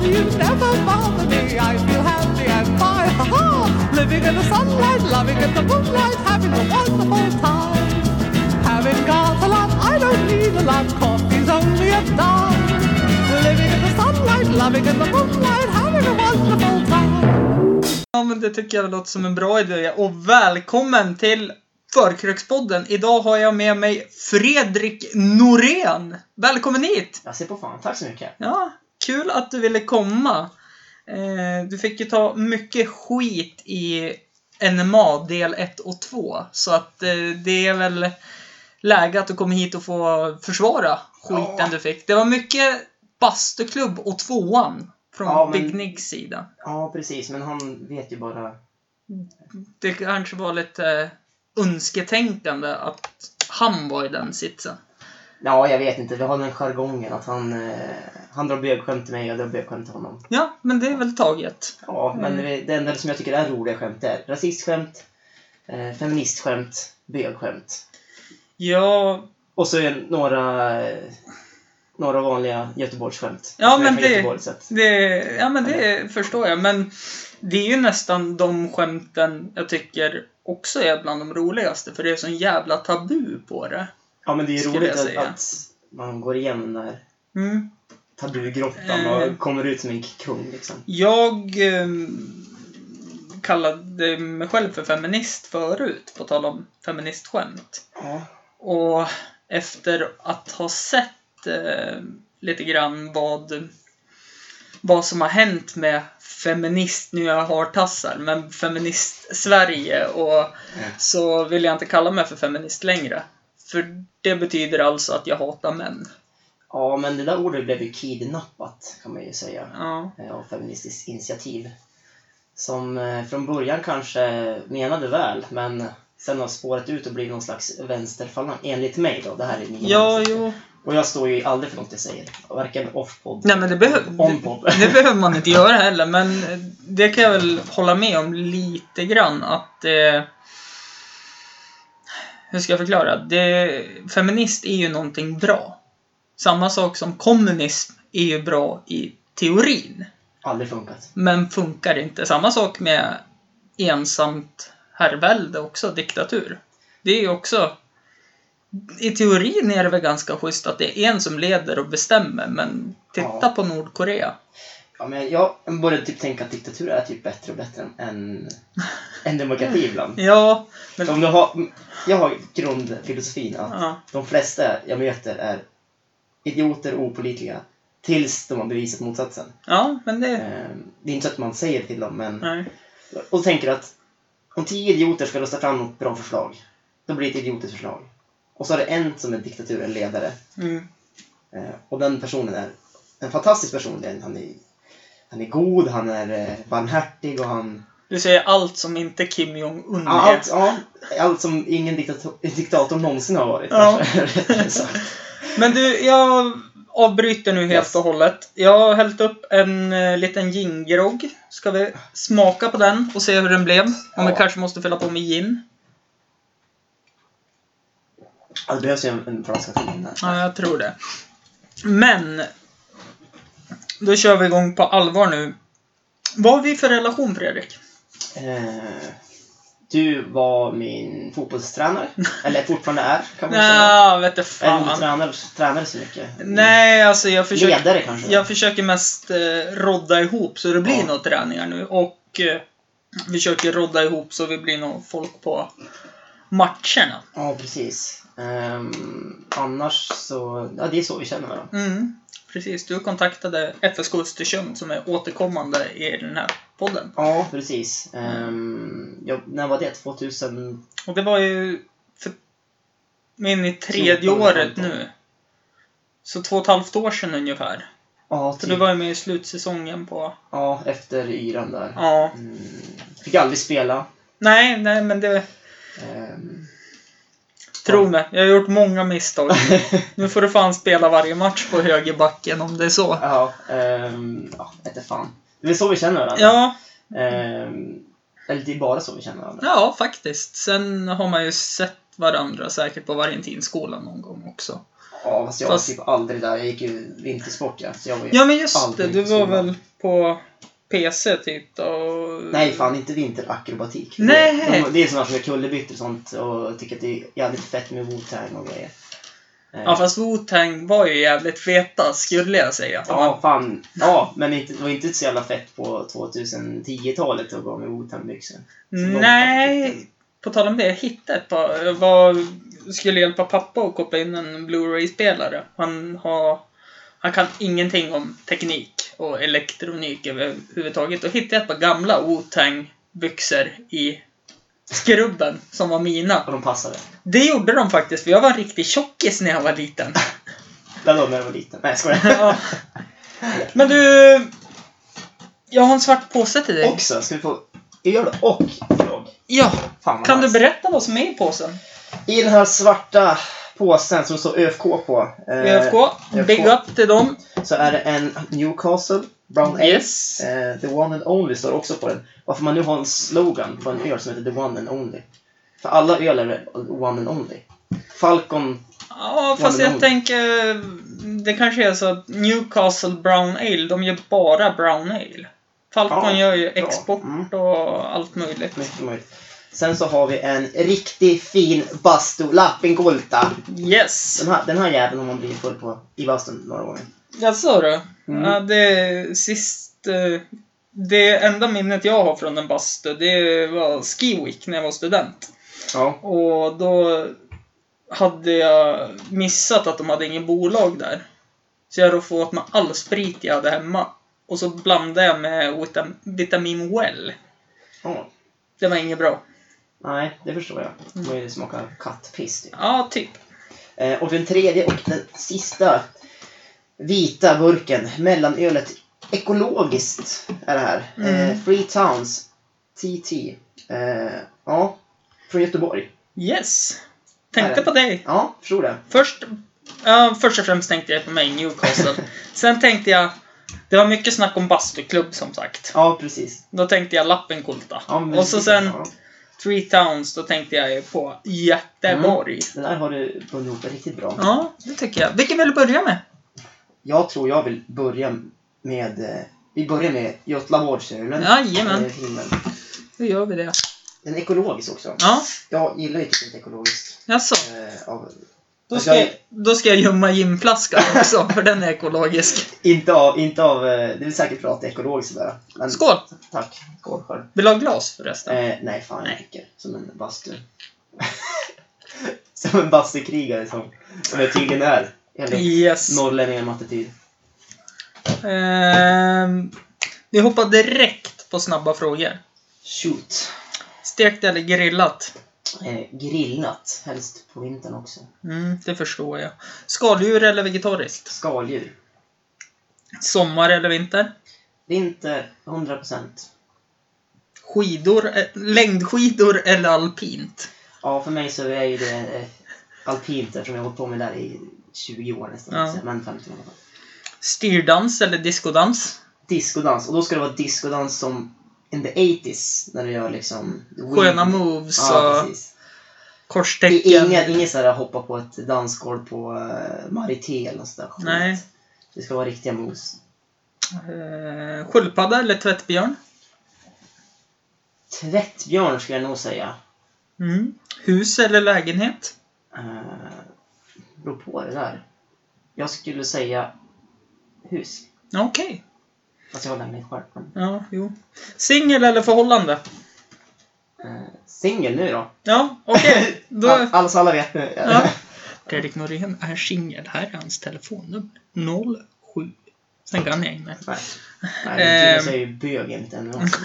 dreams never bother me. I feel happy and fine. Ha ha! Living in the sunlight, loving in the moonlight, having a wonderful time. Having got a lot, I don't need a lot. Coffee's only a dime. Living in the sunlight, loving in the moonlight, having a wonderful time. Ja, men det tycker jag låter som en bra idé. Och välkommen till Förkrökspodden. Idag har jag med mig Fredrik Norén. Välkommen hit! Jag ser på fan, tack så mycket. Ja, kul att du ville komma. Eh, du fick ju ta mycket skit i NMA del 1 och 2. Så att eh, det är väl läge att du kommer hit och får försvara skiten Ja. du fick. Det var mycket bastuklubb och tvåan från Ja, men- Big Nicks sida. Ja, precis, men han vet ju bara... det kanske var lite eh, önsketänkande att han var i den sitsen. Ja, jag vet inte, vi har den jargongen att han, eh, han drar bögskämt till mig och jag drar bögskämt till honom. Ja, men det är väl taget. Ja, men Mm. det- det enda som jag tycker är roliga skämt är rasistskämt, eh, feministskämt, bögskämt. Ja, Och så är det några, eh, några vanliga Göteborgsskämt. Ja, Jag är men från det- Göteborg, så att- det, ja, men det förstår jag. Men det är ju nästan de skämten jag tycker också är bland de roligaste. För det är sån jävla tabu på det. Ja, men det är ju skulle roligt jag att, säga. att man går igenom den där Mm. tabugrottan Eh. och kommer ut som en kung liksom. Jag ehm, kallade mig själv för feminist förut, på tal om feministskämt. Ja. Och efter att ha sett eh, lite grann vad, vad som har hänt med feminist, nu jag har tassar, men feminist-Sverige och så vill jag inte kalla mig för feminist längre. För det betyder alltså att jag hatar män. Ja, men det där ordet blev ju kidnappat kan man ju säga Ja. eh, av Feministiskt initiativ. Som eh, från början kanske menade väl, men sen har spårat ut och blivit någon slags vänsterfalang, enligt mig då. Det här är mina Ja, åsikter. jo. Och jag står ju aldrig för något jag säger. Varken off-podd Nej, men det, behö- on-podd. det, det behöver man inte göra heller, men eh, det kan jag väl hålla med om lite grann att eh, Hur ska jag förklara? Det, feminist är ju någonting bra. Samma sak som kommunism är ju bra i teorin, aldrig funkat. men funkar inte. Samma sak med ensamt herrvälde också, diktatur. Det är ju också i teorin är det väl ganska schysst att det är en som leder och bestämmer, men titta Ja. på Nordkorea. Ja, men jag började typ tänka att diktatur är typ bättre och bättre än, än, än demokrati ibland. Ja, men... Om du har, jag har grundfilosofin att Ja. De flesta jag möter är idioter och opolitliga tills de har bevisat motsatsen. ja, men det... Ehm, Det är inte så att man säger till dem, men... Nej. Och tänker att om tio idioter ska rösta fram något bra förslag, då blir det ett idiotiskt förslag. Och så har det en som är diktaturens ledare, Mm. eh, och den personen är en fantastisk person. Det är- Han är, han är god, han är eh, barmhärtig och han... Du säger allt som inte Kim Jong-Un Ja, är. allt, ja, allt som ingen diktator, diktator någonsin har varit, Ja. kanske. rättare sagt. Men du, jag avbryter nu helt Yes. och hållet. Jag har hällt upp en eh, liten gingrogg. Ska vi smaka på den och se hur den blev? Om vi Ja. kanske måste fylla på med gin. Ja, Det behövs ju en, en flaska till innan. Ja, jag tror det. Men... Då kör vi igång på allvar nu. Vad har vi för relation, Fredrik? Eh, du var min fotbollstränare, eller fortfarande är kan man säga. Nja, vet du Eller du fan. tränade, tränade så mycket. Nej, alltså jag försöker... Ledare kanske? Jag försöker mest eh, rodda ihop så det blir Ja. några träningar nu och eh, vi försöker rodda ihop så vi blir nog folk på matcherna. Ja, precis. Ehm, annars så, ja det är så vi känner varandra. Mm, precis, du kontaktade FSK Östersund som är återkommande i den här podden. Ja, precis. Ehm, jag, när var det? 2000? Och det var ju för, min i tredje 14, året 15. nu. Så två och ett halvt år sedan ungefär. Ja, Så typ. du var ju med i slutsäsongen på... ja efter yran där. Ja. Mm, fick aldrig spela. Nej, nej men det... Ehm, Tro mig, jag har gjort många misstag. Nu får du fan spela varje match på högerbacken om det är så. ja, ehm, ja, vete fan. Det är så vi känner varandra. Ja, Ehm, eller det är bara så vi känner varandra. ja faktiskt. Sen har man ju sett varandra säkert på Valentinskolan någon gång också. Ja, fast jag Fast- var typ aldrig där. Jag gick ju vintersport ja. Så jag var ju... Ja men just det, Aldrig du i var skolan. väl på PC typ då? och- Nej, fan inte vinterakrobatik. Nej. Det, de, det är sådana som gör kullerbyttor och sånt och tycker att det är jävligt fett med Wu-Tang och grejer. Eh, Ja fast Wu-Tang var ju jävligt feta skulle jag säga. Ja, fan. Ja, men inte, det var inte så jävla fett på 2010-talet att gå med Wu-Tang-byxor. Så Nej, på tal om det, jag hittade ett par. Jag var, skulle hjälpa pappa att koppla in en Blu-ray-spelare. Han, har, han kan ingenting om teknik och elektronik överhuvudtaget. Då hittade jag ett par gamla Wu-Tang-byxor i skrubben som var mina. Och de passade. Det gjorde de faktiskt, för jag var en riktig tjockis när jag var liten. Där då när jag var liten. Nej, jag skojar. Ja. Men du, jag har en svart påse till dig. Också, ska vi få... Jag gör det och vlogg. Ja, Fan vad kan du nice. berätta vad som är i påsen? I den här svarta påsen som står ÖFK på. eh, ÖFK, big ÖFK. up till dem. Så är det en Newcastle Brown Ale. Yes. Eh, the one and only står också på den. Varför man nu har en slogan på en öl som heter The one and only. För alla öl är väl one and only. Falcon, Ja, fast men jag hon- tänker... Det kanske är så att Newcastle Brown Ale, de gör bara Brown Ale. Falcon Ja, gör ju bra. export Mm. och allt möjligt. mycket möjligt. Sen så har vi en riktigt fin bastu, Lappingolta. Yes! Den här, den här jäveln har man blivit full på i bastun några gånger. Jag sa du? Mm. Ja, det är sist... eh, Det enda minnet jag har från en bastu, det var Ski Week när jag var student. Ja. Och då hade jag missat att de hade ingen bolag där. Så jag hade fått med all sprit jag hade hemma. Och så blandade jag med vitam- vitamin well. ja. Det var inget bra. Nej, det förstår jag. Det var ju smaka kattpiss typ. Ja, typ. Eh, och den tredje och den sista vita burken, mellanölet, ekologiskt är det här. Eh, Mm. Free Towns TT. Eh, ja, från Göteborg. Yes. Tänkte på dig. Ja, förstår det. Först, ja, först och främst tänkte jag på mig, Newcastle. Sen tänkte jag, det var mycket snack om bastuklubb som sagt. Ja, precis. Då tänkte jag Lappenkulta. Ja, men- och så sen Ja. Three Towns, då tänkte jag ju på Göteborg. Den där har du bundit ihop riktigt bra. Ja, det tycker jag. Vilken vill du börja med? Jag tror jag vill börja med... Eh, vi börjar med Götlaborgsölen. Jajamän. Eh, himlen. Hur gör vi det? Den är ekologisk också. Ja, Jag gillar ju typ inte ekologiskt. jaså. Eh, av, Då ska, jag, då ska jag gömma gymflaskan också, för den är ekologisk. inte av... Inte av eh, det är säkert bra att det är ekologiskt där. Men, Skål! Tack. Skål själv. Vill du ha glas förresten? Eh, nej, fan jag Nej. dricker som en bastu. som en bastukrigare som, som jag tydligen är. Enligt Yes. norrlänningar med attityd. Ehm, vi hoppar direkt på snabba frågor. Shoot. Stekt eller grillat? Eh, grillnat, helst på vintern också. Mm, det förstår jag. Skaldjur eller vegetariskt? Skaldjur. Sommar eller vinter? Vinter, 100%. Skidor, eh, längdskidor eller alpint? Ja, för mig så är ju det eh, alpint eftersom jag har hållit på med det där i 20 år nästan. Ja. Men 15 i alla fall. Styrdans eller diskodans? Discodans, och då ska det vara discodans som in the 80s. När du gör liksom... Sköna moves Ja, och precis. Det är korstecken? Ingen, ingen så här hoppa på ett dansgolv på uh, Marité eller något sånt där skit. Nej. Det ska vara riktiga moves. Eh, sköldpadda eller tvättbjörn? Tvättbjörn skulle jag nog säga. Mm. Hus eller lägenhet? Uh, beror på det där. Jag skulle säga hus. Okej. Fast jag har lägenhet själv. men, Ja, jo. Singel eller förhållande? eh, Singel nu då. Ja, okej. Då... All, alltså alla vet nu. Ja. Fredrik Norén är singel. Här är hans telefonnummer. 07. Sen kan jag inte. Nej. Nej, Ehm. du säger ju bög enligt henne också.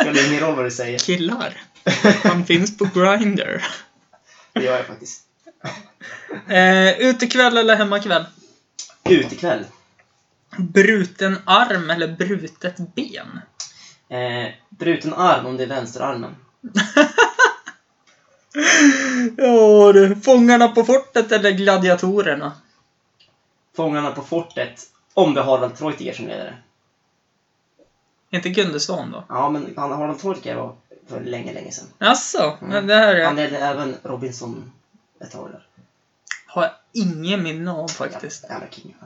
Spelar ingen roll vad du säger. Killar. Han finns på Grindr. Det gör jag faktiskt. Eh, utekväll eller hemmakväll? Ut ikväll. Bruten arm eller brutet ben? Eh, bruten arm om det är vänsterarmen. Ja du. Fångarna på fortet eller gladiatorerna? Fångarna på fortet. Om det är Harald Treutiger som ledare. Inte Gunde Svan då? Ja, men han, Harald Treutiger var för länge, länge sedan. Jaså? Men Mm. det här Han är... ledde även Robinson ett tag där. Har jag inget minne av faktiskt. Jävla king.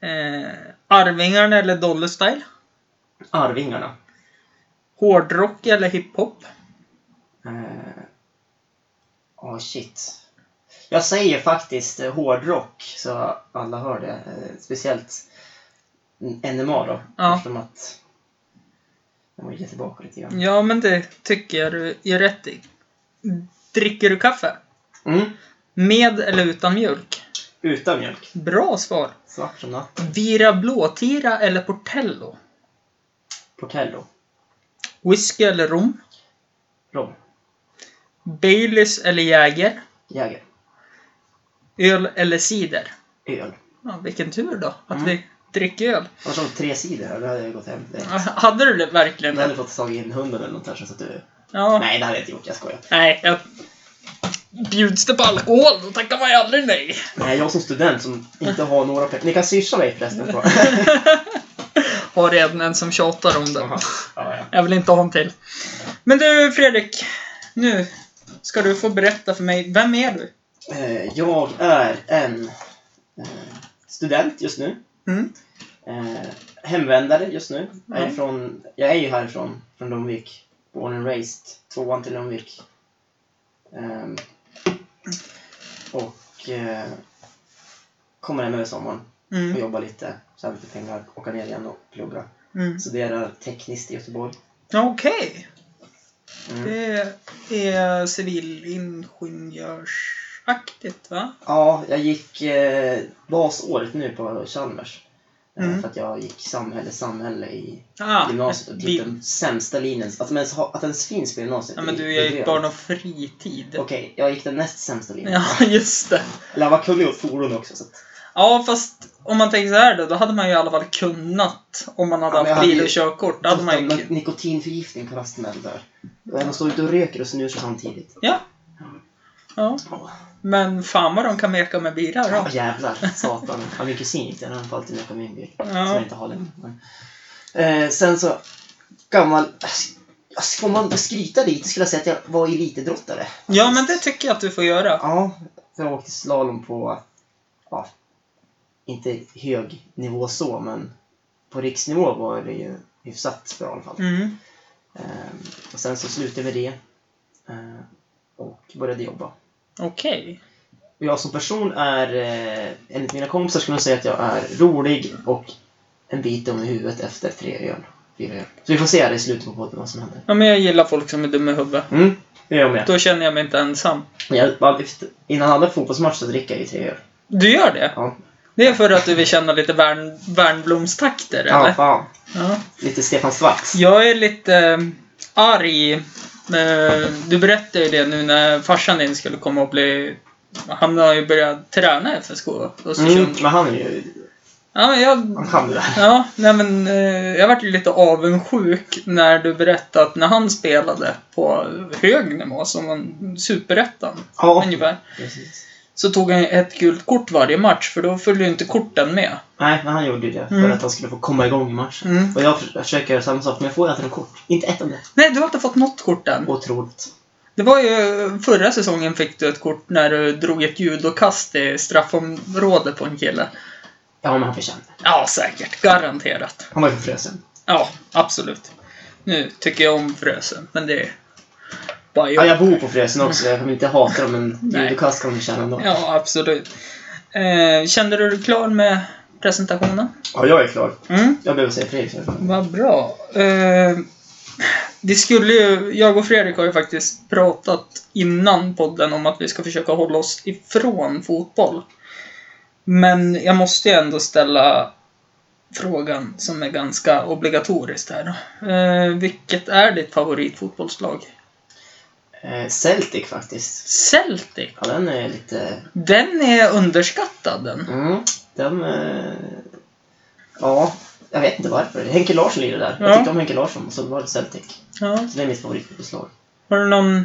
Eh, Arvingarna eller Dolly Style? Arvingarna. Hårdrock eller hiphop? Åh eh, åh, shit. Jag säger faktiskt eh, hårdrock så alla hör det. Eh, speciellt NMA då. Ja. Eftersom att jag vill ge tillbaka lite grann. Ja, men det tycker jag du gör rätt i. Dricker du kaffe? Mm. Med eller utan mjölk? Utan mjölk. Bra svar! Svart som natt. Vira blåtira eller Portello? Portello. Whisky eller rom? Rom. Baileys eller Jäger? Jäger. Öl eller cider? Öl. Ja, vilken tur då, att Mm. vi dricker öl. Det var som tre sidor här, då hade jag gått hem direkt. Hade du det verkligen Jag hade det? fått tag i en hund eller något här så att du... Ja. Nej, det hade jag inte gjort. Jag skojar. Nej, jag... Bjuds det på alkohol, då tackar man ju aldrig nej. Nej, jag som student som inte har några pengar. Ni kan swisha mig förresten. På. Har redan en som tjatar om det. Jaha. ja, ja. Jag vill inte ha en till. Men du Fredrik, nu ska du få berätta för mig, vem är du? Eh, Jag är en eh, student just nu. Mm. Eh, Hemvändare just nu. Jag är, Mm. från, jag är ju härifrån, från Lomvik. Born and raised. Tvåan till Lomvik. Ehm, Och eh, kommer hem över sommaren och Mm. jobbar lite. Tjänar lite pengar, åker ner igen och pluggar. Mm. Studerar tekniskt i Göteborg. Okej, Mm. det är civilingenjörsaktigt va? Ja, jag gick eh, basåret nu på Chalmers. Eh, Mm. För att jag gick samhälle, samhälle i Ah, gymnasiet. Och typ vi- den sämsta linjen. Alltså, Att de ens, ha, att ens finns på gymnasiet. Ja, men är- du, är jag är ju rövigt. barn och fritid. Okej, jag gick den näst sämsta linjen. Ja, just det. Eller jag var kunnig åt fordon också. Så att, Ja, fast om man tänker så här då, då hade man ju i alla fall kunnat om man hade Ja, men jag haft hade bil ju- och körkort. Då hade man ju... Men Nikotinförgiftning på rasten där. där. Och man står ute och röker och snusar samtidigt. Ja. ja. Åh, Men fan vad de kan meka med bilar då. ja, jävlar, satan. Ja, min kusin gick den, han får alltid med min bil. Som jag Ja. inte har längre. Men. Eh, sen så, gammal... Alltså, får man skryta lite skulle jag säga att jag var elitidrottare. ja, men det tycker jag att du får göra. Ja, för jag åkte slalom på, ja, inte hög nivå så, men på riksnivå var det ju hyfsat bra i alla fall. Mm. Ehm, och sen så slutade jag med det eh, och började jobba. Okej. Och jag som person är, eh, enligt mina kompisar skulle jag säga att jag är rolig och en bit om i huvudet efter tre öl, fyra öl. Så vi får se här i slutet på podden vad som händer. Ja, men jag gillar folk som är dumma i huvudet. Mm, det gör jag med. Då känner jag mig inte ensam. Jag, bara efter- innan alla fotbollsmatcher så dricker jag ju tre öl. Du gör det? Ja, Det är för att du vill känna lite Wern, Wernbloomstakter, ja eller? fan. Ja. Lite Stefan Svarts. Jag är lite eh, arg. Eh, Du berättade ju det nu när farsan din skulle komma och bli... Han har ju börjat träna i FSK Östersund. Mm, men han är ju... Ja, men jag... Han kan det där. Ja, nej men eh, jag vart ju lite avundsjuk när du berättade att när han spelade på hög nivå, som en superettan Ja, ungefär, precis. så tog han ju ett gult kort varje match, för då följde ju inte korten med. Nej, men han gjorde ju det för Mm. att han skulle få komma igång i matchen. Mm. Och jag för- jag försöker göra samma sak, men jag får inte något kort. Inte ett enda. Nej, du har inte fått något kort än. Otroligt. Det var ju förra säsongen fick du ett kort när du drog ett judokast i straffområdet på en kille. Ja, men han förtjänar det. Ja, säkert. Garanterat. Han var ju från Frösön. Ja, absolut. Nu tycker jag om Frösön, men det är bara Ja, jag bor på Frösön också. Jag kommer inte hata dem, men Nej. judokast kan de förtjäna ändå. Ja. Ja, absolut. Eh, kände du dig klar med presentationen? jag är klar. Mm, Jag behöver säga Fredrik. så jag är klar. vad bra. Eh, det skulle ju, jag och Fredrik har ju faktiskt pratat innan podden om att vi ska försöka hålla oss ifrån fotboll. Men jag måste ju ändå ställa frågan som är ganska obligatorisk här då. Eh, vilket är ditt favoritfotbollslag? Eh, Celtic faktiskt. Celtic? Ja, den är lite... Den är underskattad den. Mm, den... Eh... Ja, jag vet inte varför. Henke Larsson lirade där. Ja. Jag tyckte om Henke Larsson, och så var det Celtic. Ja. Så det är mitt favoritfotbollslag. Har du någon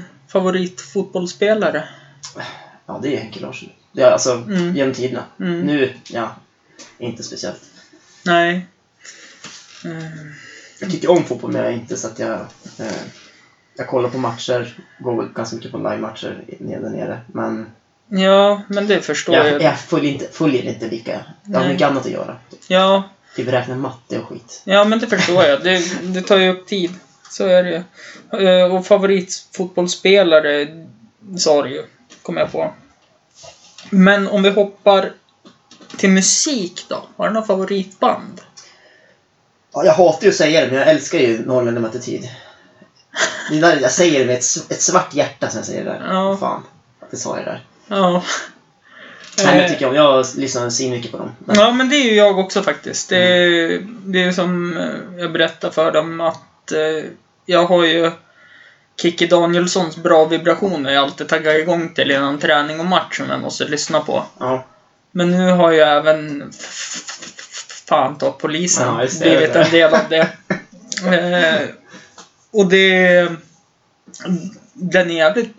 favoritfotbollsspelare? Ja, det är Henke Larsson. Ja, alltså, Mm. genom tiderna. Mm. Nu, ja. Inte speciellt. Nej. Mm. Jag tycker om fotboll, men jag är inte så att jag... Eh, jag kollar på matcher, går väl ganska mycket på live-matcher i- nere där nere, men Ja, men det förstår Jag, jag. jag följer, inte, följer inte lika. Jag har Nej. mycket annat att göra. Ja, Typ räkna matte och skit. ja, men det förstår jag. Det, det tar ju upp tid. Så är det ju. Eh, Och favoritfotbollsspelare sa du ju, kom jag på. Men om vi hoppar till musik då. Har du några favoritband? Ja, jag hatar ju att säga det, men jag älskar ju Norrland möter tid. Det där, jag säger det med ett, s- ett svart hjärta som jag säger det där. Ja. Fan, det sa jag där. Ja. Nej, men Eh, jag tycker om. Jag lyssnar svinmycket på dem. Men, Ja, men det är ju jag också faktiskt. Det är, det är som eh, jag berättade för dem att eh, jag har ju Kikki Danielssons bra vibrationer jag alltid taggar igång till innan träning och match som jag måste lyssna på. ja. Men nu har ju även f- f- f- fan ta polisen Ja, just det, blivit det där. en del av det. eh, och det... Den är jävligt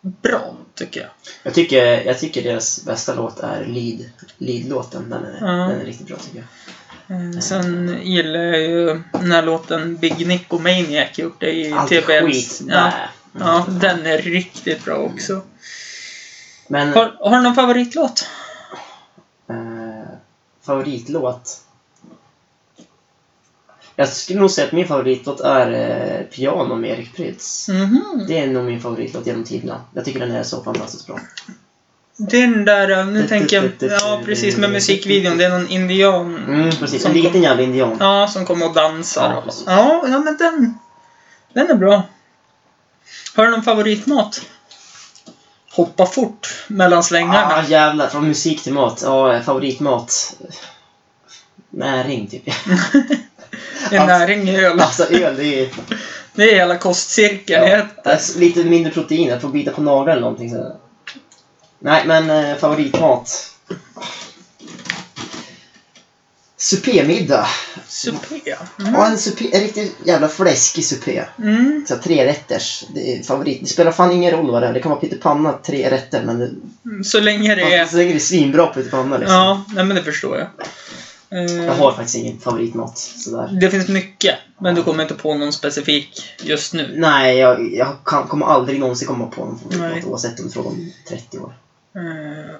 bra, tycker jag. Jag, tycker, jag tycker deras bästa låt är Lyd. Lyd-låten. Den är, Ja. den är riktigt bra tycker jag. Eh, Sen gillar jag ju den här låten Big Nick och Maniac gjort det i Allt är skit. TBLs. Ja, Nä. ja, den är riktigt bra också. Men Har, har du någon favoritlåt? eh, favoritlåt? Jag skulle nog säga att min favoritlåt är eh, Piano med Erik Prytz. Mhm. Det är nog min favoritlåt genom tiderna. Jag tycker den är så fantastiskt bra. Den där, eh, nu tänker jag... Ja, precis med musikvideon. Det är någon indian Mm, precis. En Som- liten jävla indian. ja, som kommer och dansar. Ja, och- precis. Ja, ja, men den... Den är bra. Har du någon favoritmat? Hoppa fort mellan slängarna. Ah, jävlar. Från musik till mat. Ja, eh, favoritmat. Näring, typ. en alltså- näring i öl. Alltså öl, det är... Det är hela kostcirkeln. Ja, Jag- alltså, lite mindre protein, jag får bita på naveln eller någonting så. Nej, men eh, favoritmat. Supémiddag. Supé. Ja, en, supé, en riktigt jävla fläskig supé. Mm. Så här, tre rätters. Det är favorit. Det spelar fan ingen roll vad det är. Det kan vara pyttipanna, tre rätter, men det, Mm. Så länge det är... så länge det är svinbra pyttipanna liksom. Ja, nej men det förstår jag. Eh, Jag har faktiskt ingen favoritmat sådär. Det finns mycket, men du kommer inte på någon specifik just nu. Nej, jag, jag kan, kommer aldrig någonsin komma på någon favoritmat Nej. oavsett om du frågar om 30 år. Eh,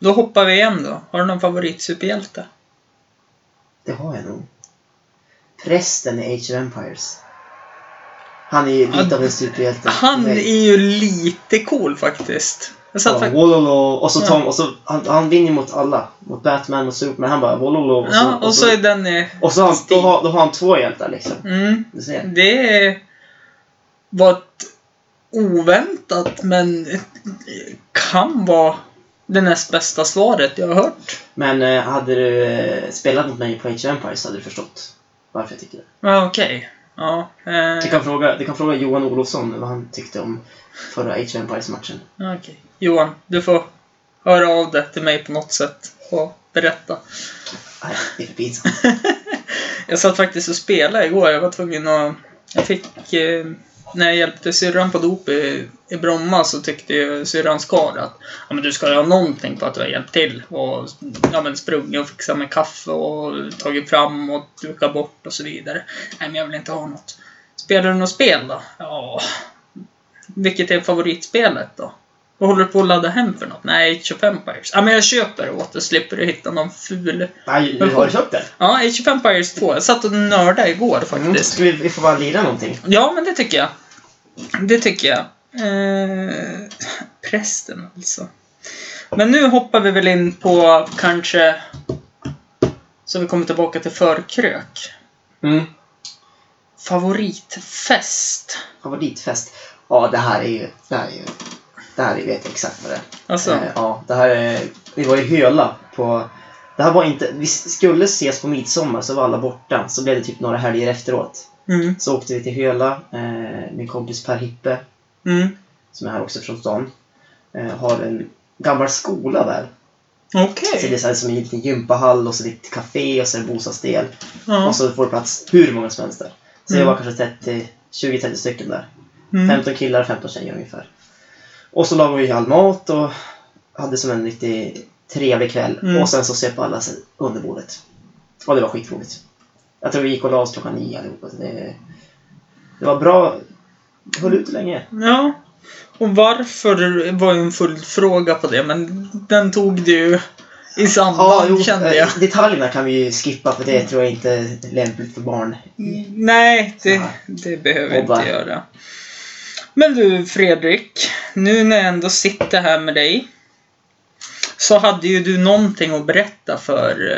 Då hoppar vi igen då. Har du någon favoritsuperhjälte? Det har jag nog. Prästen i Age of Empires. Han är ju lite av en superhjälte. Han är Nej. ju lite cool faktiskt. Jag satt Ja, faktiskt... Wololo, och så Ja. Tom, och så, han, han vinner mot alla. Mot Batman och Superman. Han bara Wololo och så... Ja, och så är den i... och så har han, då, Steve. har, då har han två hjältar liksom. Mm. Du ser. Det är- var ett oväntat, men kan vara det näst bästa svaret jag har hört. Men eh, hade du eh, spelat mot mig på Age of Empires hade du förstått varför jag tycker det. Ja, okej. Ja, eh, Du kan fråga, du kan fråga Johan Olofsson vad han tyckte om förra Age of Empires-matchen. okej. Johan, du får höra av dig till mig på något sätt och berätta. Nej, det är för pinsamt. Jag satt faktiskt och spelade igår. Jag var tvungen att... Jag fick... Eh, när jag hjälpte syrran på dop i, i Bromma så tyckte ju syrrans karl att ja, men du ska ha någonting på att du har hjälpt till. Och ja, men sprungit och fixat med kaffe och tagit fram och dukat bort och så vidare. Nej, men jag vill inte ha något. Spelar du något spel då? Ja... Vilket är favoritspelet då? Vad håller du på att ladda hem för något? Nej, Age of Empires. Ja, men jag köper det åt dig. Slipper du hitta någon ful Nej, du har köpt den? Ja, Age of Empires 2. Jag satt och nördade igår Mm. faktiskt. Ska vi, vi får bara lira någonting? Ja, men det tycker jag. Det tycker jag. Eh, prästen alltså. Men nu hoppar vi väl in på kanske... Så vi kommer tillbaka till förkrök. Mm. Favoritfest. Favoritfest? Ja, det här är ju... Det här är ju... Det här är, vet jag exakt vad det är. Alltså, Eh, ja, det här är... Vi var i Höla på... Det här var inte... Vi skulle ses på midsommar, så var alla borta. Så blev det typ några helger efteråt. mm, Så åkte vi till Höla. Eh, min kompis Per Hippe, mm, som är här också från stan, eh, har en gammal skola där. okej. Så Alltså, det är så här som en liten gympahall och så lite café och så är det bostadsdel. Ja, Och så får du plats hur många som helst där. Så det Mm. var kanske 30, 20-30 stycken där. mm, 15 killar och 15 tjejer ungefär. Och så lagade vi all mat och hade som en riktigt trevlig kväll. Mm. Och sen så söp alla sig under bordet. Och det var skitroligt. Jag tror vi gick och Alltså, la oss klockan nio allihopa. så Det, det var bra. Vi höll ut länge. ja, Och varför var ju en full fråga på det, men den tog du ju i Ja, samband jo, kände eh, jag. Mm. detaljerna kan vi ju skippa för det tror jag inte är lämpligt för barn. Nej, det, Nej. det behöver vi Mobba. inte göra. Men du Fredrik, nu när jag ändå sitter här med dig. Så hade ju du någonting att berätta för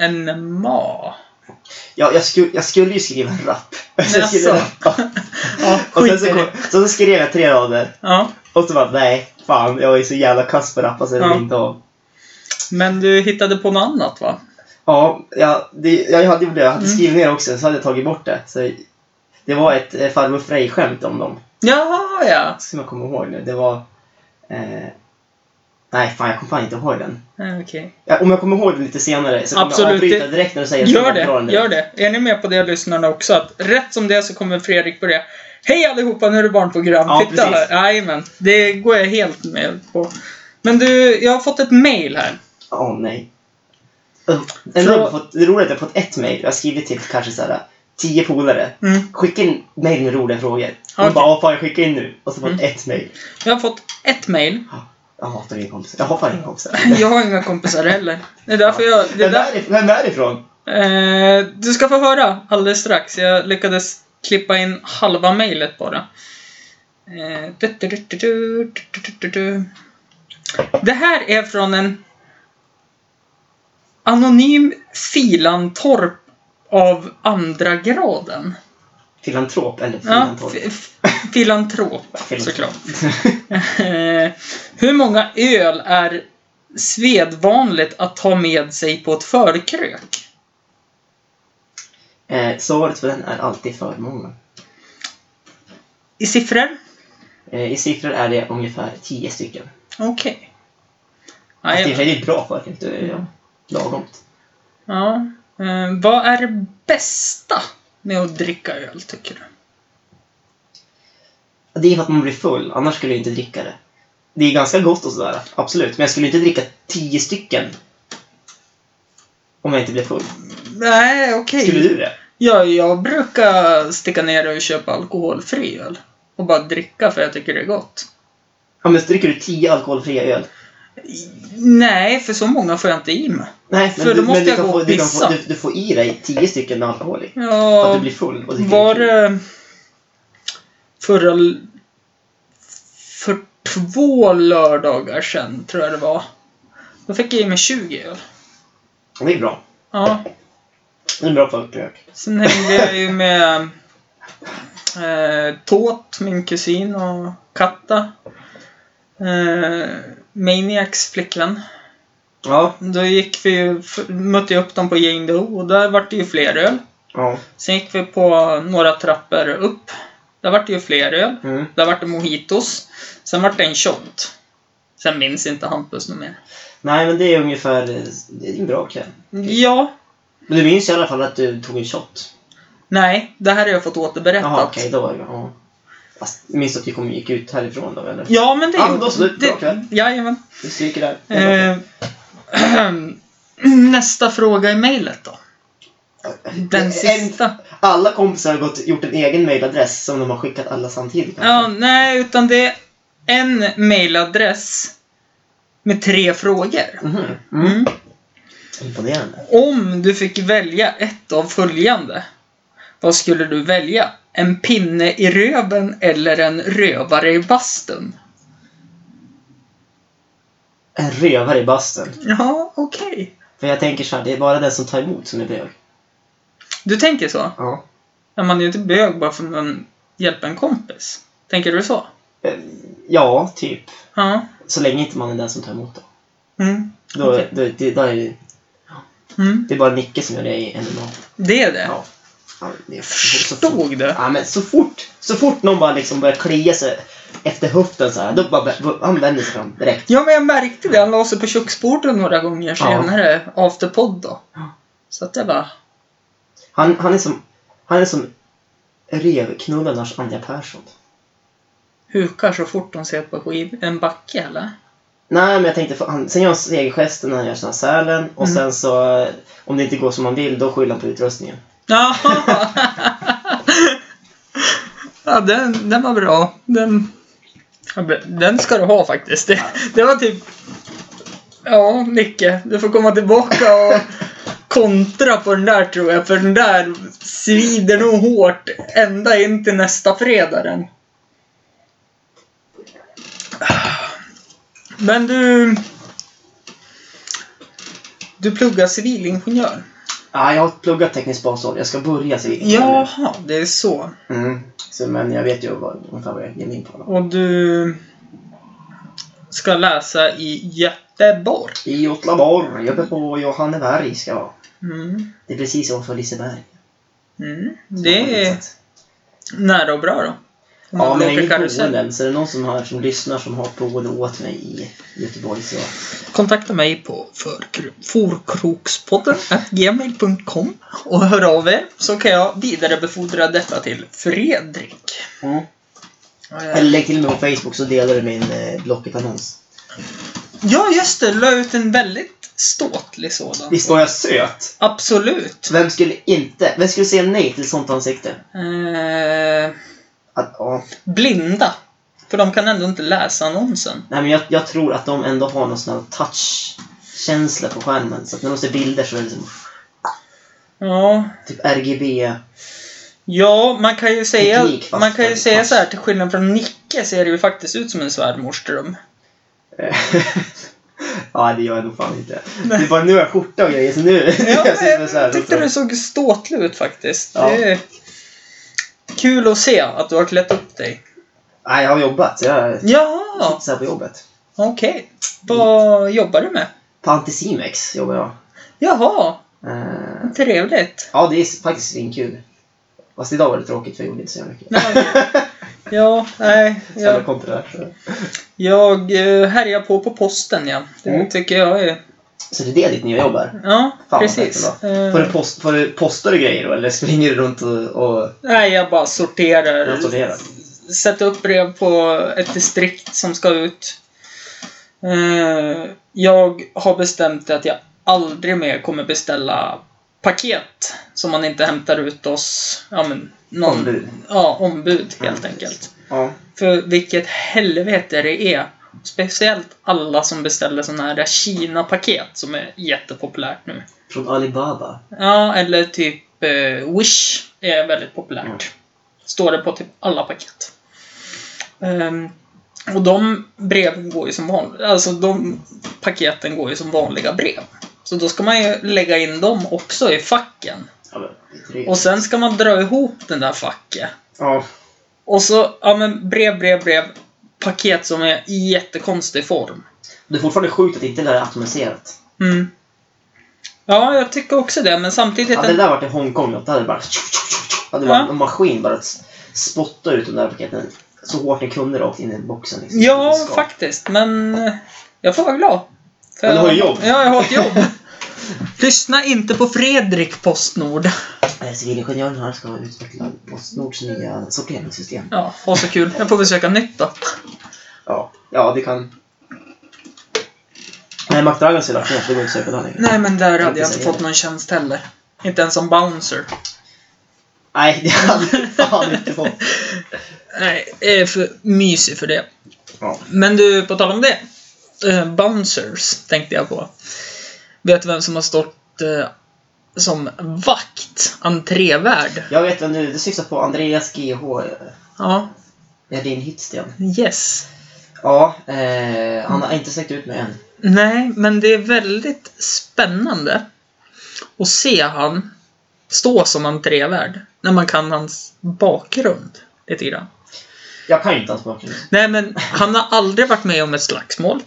eh, NMA. Ja, jag, skulle, jag skulle ju skriva en rap. Så jag skulle Jaså? rappa. Alltså. Ja, Och sen skit så, i kom, det. så, så skrev jag tre rader. Ja, Och så bara, nej, fan, jag är så jävla kass på att rappa så jag Ja. vill inte av. men du hittade på något annat va? Ja, ja det, jag hade gjort det. Jag hade Mm. skrivit ner också, så hade jag tagit bort det. Så det var ett eh, farbror Frej-skämt om dem. Jaha ja! Som jag kommer ihåg nu. Det var... Eh, nej, fan, jag kommer fan inte ihåg den. Eh, Okej. Ja, om jag kommer ihåg den lite senare så kommer Absolut, jag avbryta det- direkt när du säger så Gör jag drar den det, direkt. gör det. Är ni med på det lyssnarna också? Att rätt som det är så kommer Fredrik börja. Hej allihopa, nu är det barnprogram. Ja, Titta precis. här. Jajamän, det går jag helt med på. Men du, jag har fått ett mail här. Åh nej. Ugh, En Frå- rolig, jag fått, det roliga är att jag har fått ett mejl. Jag har skrivit till kanske så här, eh, tio polare. Mm. Skicka in mejl med roliga frågor. De Okej. Mm. bara "Ja, fan jag skickar in nu. Och så har jag fått ett mejl. Jag har fått ett mail. Jag hatar inga kompisar. Jag har fan inga kompisar. Jag har inga kompisar heller. Det är därför jag... Det är Vem, där, är, det- vem är det ifrån? eh, du ska få höra alldeles strax. Jag lyckades klippa in halva mejlet bara. Eh, du, du, du, du, du, du, du, du, du. Det här är från en anonym filantorp av andra graden. Filantrop eller Ja, filantorp? fi- fi- filantrop Filantrop. såklart. Eh, Hur många öl är svedvanligt att ta med sig på ett förkrök? eh, svaret på den är alltid för många. I siffror? Eh, I siffror är det ungefär tio stycken. Okej. Fast i och Jajamän. för sig, det är bra för att inte eh, ja, lagomt. Ja. Eh, Vad är det bästa med att dricka öl, tycker du? Det är för att man blir full, annars skulle jag inte dricka det. Det är ganska gott och sådär, absolut. Men jag skulle inte dricka tio stycken. Om jag inte blev full. Nej, okej. Skulle du det? Ja, jag brukar sticka ner och köpa alkoholfri öl. Och bara dricka för jag tycker det är gott. Ja, men så dricker du tio alkoholfria öl? Nej, för så många får jag inte i mig. Nej, men, För du, då måste men du, jag kan gå få, och du, kan få, pissa. du, du får i dig tio stycken med alkohol i. Ja, För att du blir full och dricker Var lite. det förra... l- För två lördagar sedan, tror jag det var. Då fick jag i mig 20 öl. Och Det är bra. Ja. Det är en bra folkrök. Sen hängde jag ju med eh, Tåt, min kusin, och Katta. Eh, Maniacs flickvän. Ja. Då gick vi ju, f- mötte jag upp dem på Jane Doe och där vart det ju fler öl. Ja. Sen gick vi på några trappor upp. Där vart det ju fler öl. Mm. Där vart det mojitos. Sen vart det en shot. Sen minns inte Hampus något mer. Nej, men det är ungefär... Det är en bra kväll. Ja. Men du minns i alla fall att du tog en shot? Nej, det här har jag fått återberättat. Jaha, okej, då var det... Ja. Fast minns du att vi kom, gick ut härifrån då, eller? Ja, men det... Ja, men då så, det är bra kväll. Jajamän. Vi stryker där. Det är bra. Eh, nästa fråga i mejlet då. Den En- sista. Alla kompisar har gått, gjort en egen mailadress som de har skickat alla samtidigt. kanske. Ja, nej, utan det är en mejladress med tre frågor. Mhm. Mm. Imponerande. Om du fick välja ett av följande, vad skulle du välja? En pinne i röven eller en rövare i bastun? En rövare i bastun. Ja, okej. För jag tänker så här, det är bara den som tar emot som är bög. Du tänker så? Ja. Ja, man är ju inte bög bara för att man hjälper en kompis. Tänker du så? Eh, Ja, typ. Ja. Så länge inte man är den som tar emot då. Mm. Då, Okej. då, det, då är det, Mm. det är bara Nicke som gör det i MMA. Det är det. Ja. Ja, det är så fort. Förstod du? Ja, men så fort, så fort någon bara liksom börjar klia sig efter höften så här, då bara, då- han vänder sig fram direkt. Ja, men jag märkte det. Han la sig på köksbordet några gånger senare, after podd då. Ja. Så att det var... Han, han är som, han är som revknullarnas Anja Persson. Hukar så fort de ser på skiv... en backe, eller? Nej, men jag tänkte, för han, sen gör han segergesten när han gör sina sälen och Mm. sen så, eh, om det inte går som man vill, då skyller han på utrustningen. Ja. ja, den, den var bra. Den, Ja, men Den ska du ha faktiskt. Det, det var typ... Ja, Nicke. Du får komma tillbaka och kontra på den där tror jag. För den där svider nog hårt ända in till nästa fredag. Den. Men du... Du pluggar civilingenjör? Ah, jag har pluggat teknisk basår. Jag ska börja civil. Jaha, det är så. Mm. Så, men jag vet ju vad, ungefär vad jag ger mig in på. Då. Och du ska läsa i Göteborg. I Åtlaborg, uppe på Johanneberg ska jag vara. Mm. Det är precis ovanför Liseberg. Mm. Det är nära och bra då. Om Ja, man men jag åker är inget karusell. boende, så är det någon som, här, som lyssnar som har boende åt mig i Göteborg så... Kontakta mig på förkro- forkrokspodden gmail.com och hör av er så kan jag vidarebefordra detta till Fredrik. Mm. Eller lägg till mig på Facebook så delar du min eh, Blocket-annons. Ja, just det. La ut en väldigt ståtlig sådan. Visst var jag söt? Absolut. Vem skulle inte... Vem skulle säga nej till sånt ansikte? Eh, Att, ja. blinda. För de kan ändå inte läsa annonsen. Nej, men jag, jag tror att de ändå har någon sån här touch-känsla på skärmen. Så att när de ser bilder så är det liksom, Ja, typ RGB. Ja, man kan ju säga, Teknik, fast man kan ju fast- säga så här till skillnad från Nicke ser det ju faktiskt ut som en svärmorsdröm. Eh, ja, det gör jag nog fan inte. Det är bara nu har jag skjorta och grejer, så nu... Ja, jag sitter men så här jag tyckte och- du såg ståtlig ut faktiskt. Ja. Det är kul att se att du har klätt upp dig. Nej, jag har jobbat. så Jag sitter Jaha, så här på jobbet. okej. Vad jobbar du med? På Anticimex jobbar jag. Jaha, Eh, trevligt. ja, det är faktiskt svinkul. Fast idag var det tråkigt för jag gjorde inte så jävla mycket. Nej. Ja, nej. Så jävla Jag, kontrovers. så. jag eh, härjar på på posten, ja. Det Mm. tycker jag är... Så det är det ditt nya jobb är? Ja, vad precis. fett Eh, Får du, post, får du postar du grejer då, eller springer du runt och... och Nej, jag bara Jag sorterar. S- Sätta upp brev på ett distrikt som ska ut. Eh, Jag har bestämt att jag aldrig mer kommer beställa paket som man inte hämtar ut oss. Ja, men någon, Ombud. Ja, ombud helt Mm. enkelt. ja. För vilket helvete det är. Speciellt alla som beställer sådana här Kina-paket som är jättepopulärt nu. Från Alibaba. Ja, eller typ eh, Wish är väldigt populärt. Mm. Står det på typ alla paket. Ehm, och de breven går ju som vanliga, alltså de paketen går ju som vanliga brev. Så då ska man ju lägga in dem också i facken. Ja, men, det är tre. Och sen ska man dra ihop den där facket. ja. Och så, ja men brev, brev, brev. Paket som är i jättekonstig form. Det är fortfarande sjukt att inte det där är atomiserat. Mm. Ja, jag tycker också det, men samtidigt... Hade det där varit i Hongkong, då hade det bara... Hade det Ja. varit en maskin bara att spotta ut de där paketen så hårt ni kunde rakt in i boxen. Liksom. Ja, Det ska. faktiskt. Men eh, jag får vara glad. För Men du har jag- ju jobb. Ja, jag har ett jobb. Lyssna inte på Fredrik Postnord. Eh, Civilingenjören här ska utveckla Postnords nya sorteringssystem. Ja, ha så kul. Jag får väl söka nytt då. Ja, ja det kan... Nej, McDragons har ju lagt ner, så det går inte att söka där längre. Nej, men där hade Inte jag inte säga fått det. någon tjänst heller. Inte ens som bouncer. Nej, det hade du fan inte fått. Nej, jag är för mysig för det. Ja. Men du, på tal om det. Eh, bouncers tänkte jag på. Vet du vem som har stått eh, som vakt? Entrévärd? Jag vet vem du, du syftar på Andreas GH Ja. Edin Hyttsten. Yes. Ja, eh, han har inte släckt ut mig än. Nej, men det är väldigt spännande att se han stå som entrévärd när man kan hans bakgrund lite grann. Jag kan ju inte hans bakgrund. Nej, men han har aldrig varit med om ett slagsmål.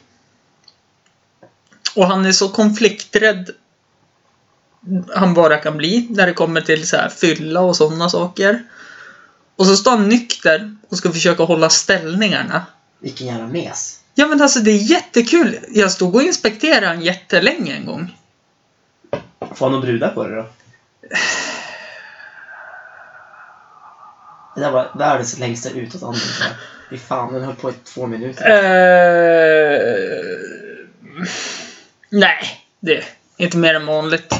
Och han är så konflikträdd han bara kan bli när det kommer till så här fylla och sådana saker. Och så står han nykter och ska försöka hålla ställningarna. Vilken jävla mes. Ja men alltså det är jättekul. Jag stod och inspekterade han jättelänge en gång. Får han några brudar på det då? Det där var världens längsta utåt andning. tror jag. Fy fan, den höll på i två minuter. Eh, nej, det är inte mer än vanligt.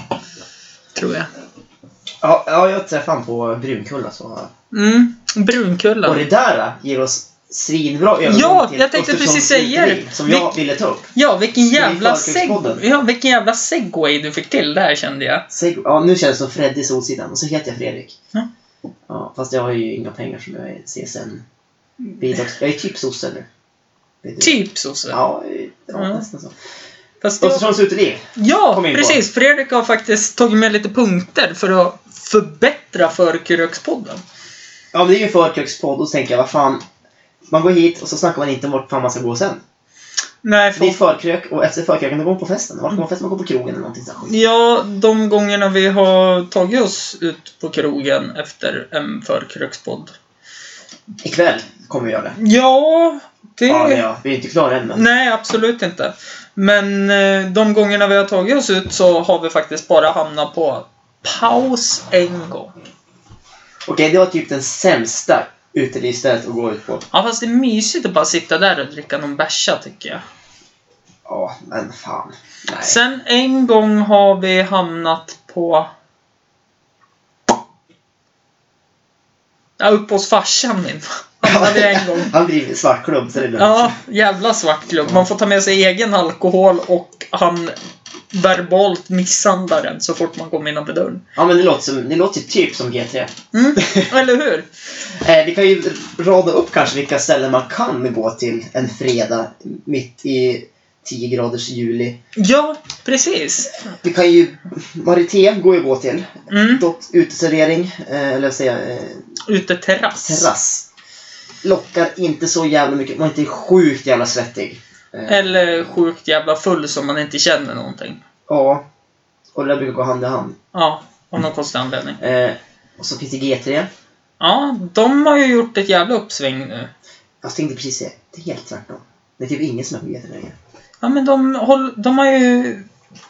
Tror jag. Ja, ja jag träffade han på Brunkulla så. Mm, Brunkulla. Och det alltså. där äh, ger oss svinbra övergång Ja, till jag tänkte Östersunds precis säga det. uteliv, Som jag Vil- ville ta upp. Ja, vilken jävla, Förortspodden. seg- ja, vilken jävla segway du fick till där kände jag. Seg- ja, nu känns det som Freddy Solsidan och så heter jag Fredrik. Ja. Ja, fast jag har ju inga pengar som jag är CSN. Bidrags- jag är typ sosse nu. Bidrag- Mm. Typ sosse. Ja, ja, Ja. nästan så. Fast jag- Östersunds uteliv. Ja, kom in på. precis. Fredrik har faktiskt tagit med lite punkter för att förbättra för Kurökspodden. Ja, men det är ju en förkrökspodd och så tänker jag, vad fan. Man går hit och så snackar man inte om vart fan man ska gå sen. Nej, Det är för... förkrök och efter förkröken då går man på festen. Vart går man på festen? Man går på krogen eller någonting sånt. skit. Ja, de gångerna vi har tagit oss ut på krogen efter en förkrökspodd. Mm. Ikväll kommer vi göra det. Ja, det... Ja, men ja, vi är inte klara än men. Nej, absolut inte. Men eh, de gångerna vi har tagit oss ut så har vi faktiskt bara hamnat på paus en gång. Okej, det var typ den sämsta utelivsstället att gå ut på. Ja, fast det är mysigt att bara sitta där och dricka någon bärsa tycker jag. Ja, men fan. Nej. Sen en gång har vi hamnat på... Ja, uppe hos farsan min. Hamnade vi en gång. Han driver svartklubb så det är lugnt. Ja, jävla svartklubb. Man får ta med sig egen alkohol och han verbalt misshandlar den så fort man kommer innanför dörren. Ja, men det låter, som, det låter typ som G3. Mm, eller hur? Eh, vi kan ju rada upp kanske vilka ställen man kan gå till en fredag mitt i 10 graders juli. Ja, precis. Vi kan ju... Marité går ju att gå till. Mm. Dot, uteservering, eh, eller vad säger jag, eh, Uteterrass. terrass. Lockar inte så jävla mycket. Man är inte sjukt jävla svettig. Eh, Eller sjukt jävla full som man inte känner någonting. ja. Och det där brukar gå hand i hand. Ja, av någon konstig anledning. Eh, och så finns det G3. Ja, de har ju gjort ett jävla uppsving nu. Jag tänkte precis säga, det är helt tvärtom. Det är typ ingen som är på G3 längre. Ja men de, håll, de har ju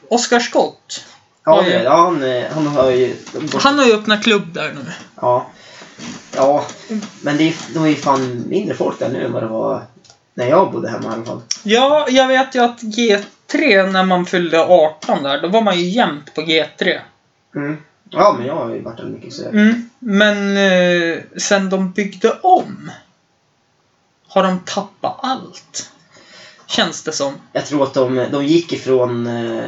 Oscar Scott. Ja, Oj. det är det. ja han, eh, han har ju... Han har ju öppnat klubb där nu. Ja. Ja. Men det är, de är ju fan mindre folk där nu än vad det var när jag bodde hemma i alla fall. Ja, jag vet ju att G3 när man fyllde 18 där, då var man ju jämt på G3. Mm. Ja, men jag har ju varit där mycket så... Mm. Men eh, sen de byggde om har de tappat allt. Känns det som. Jag tror att de, de gick ifrån... eh,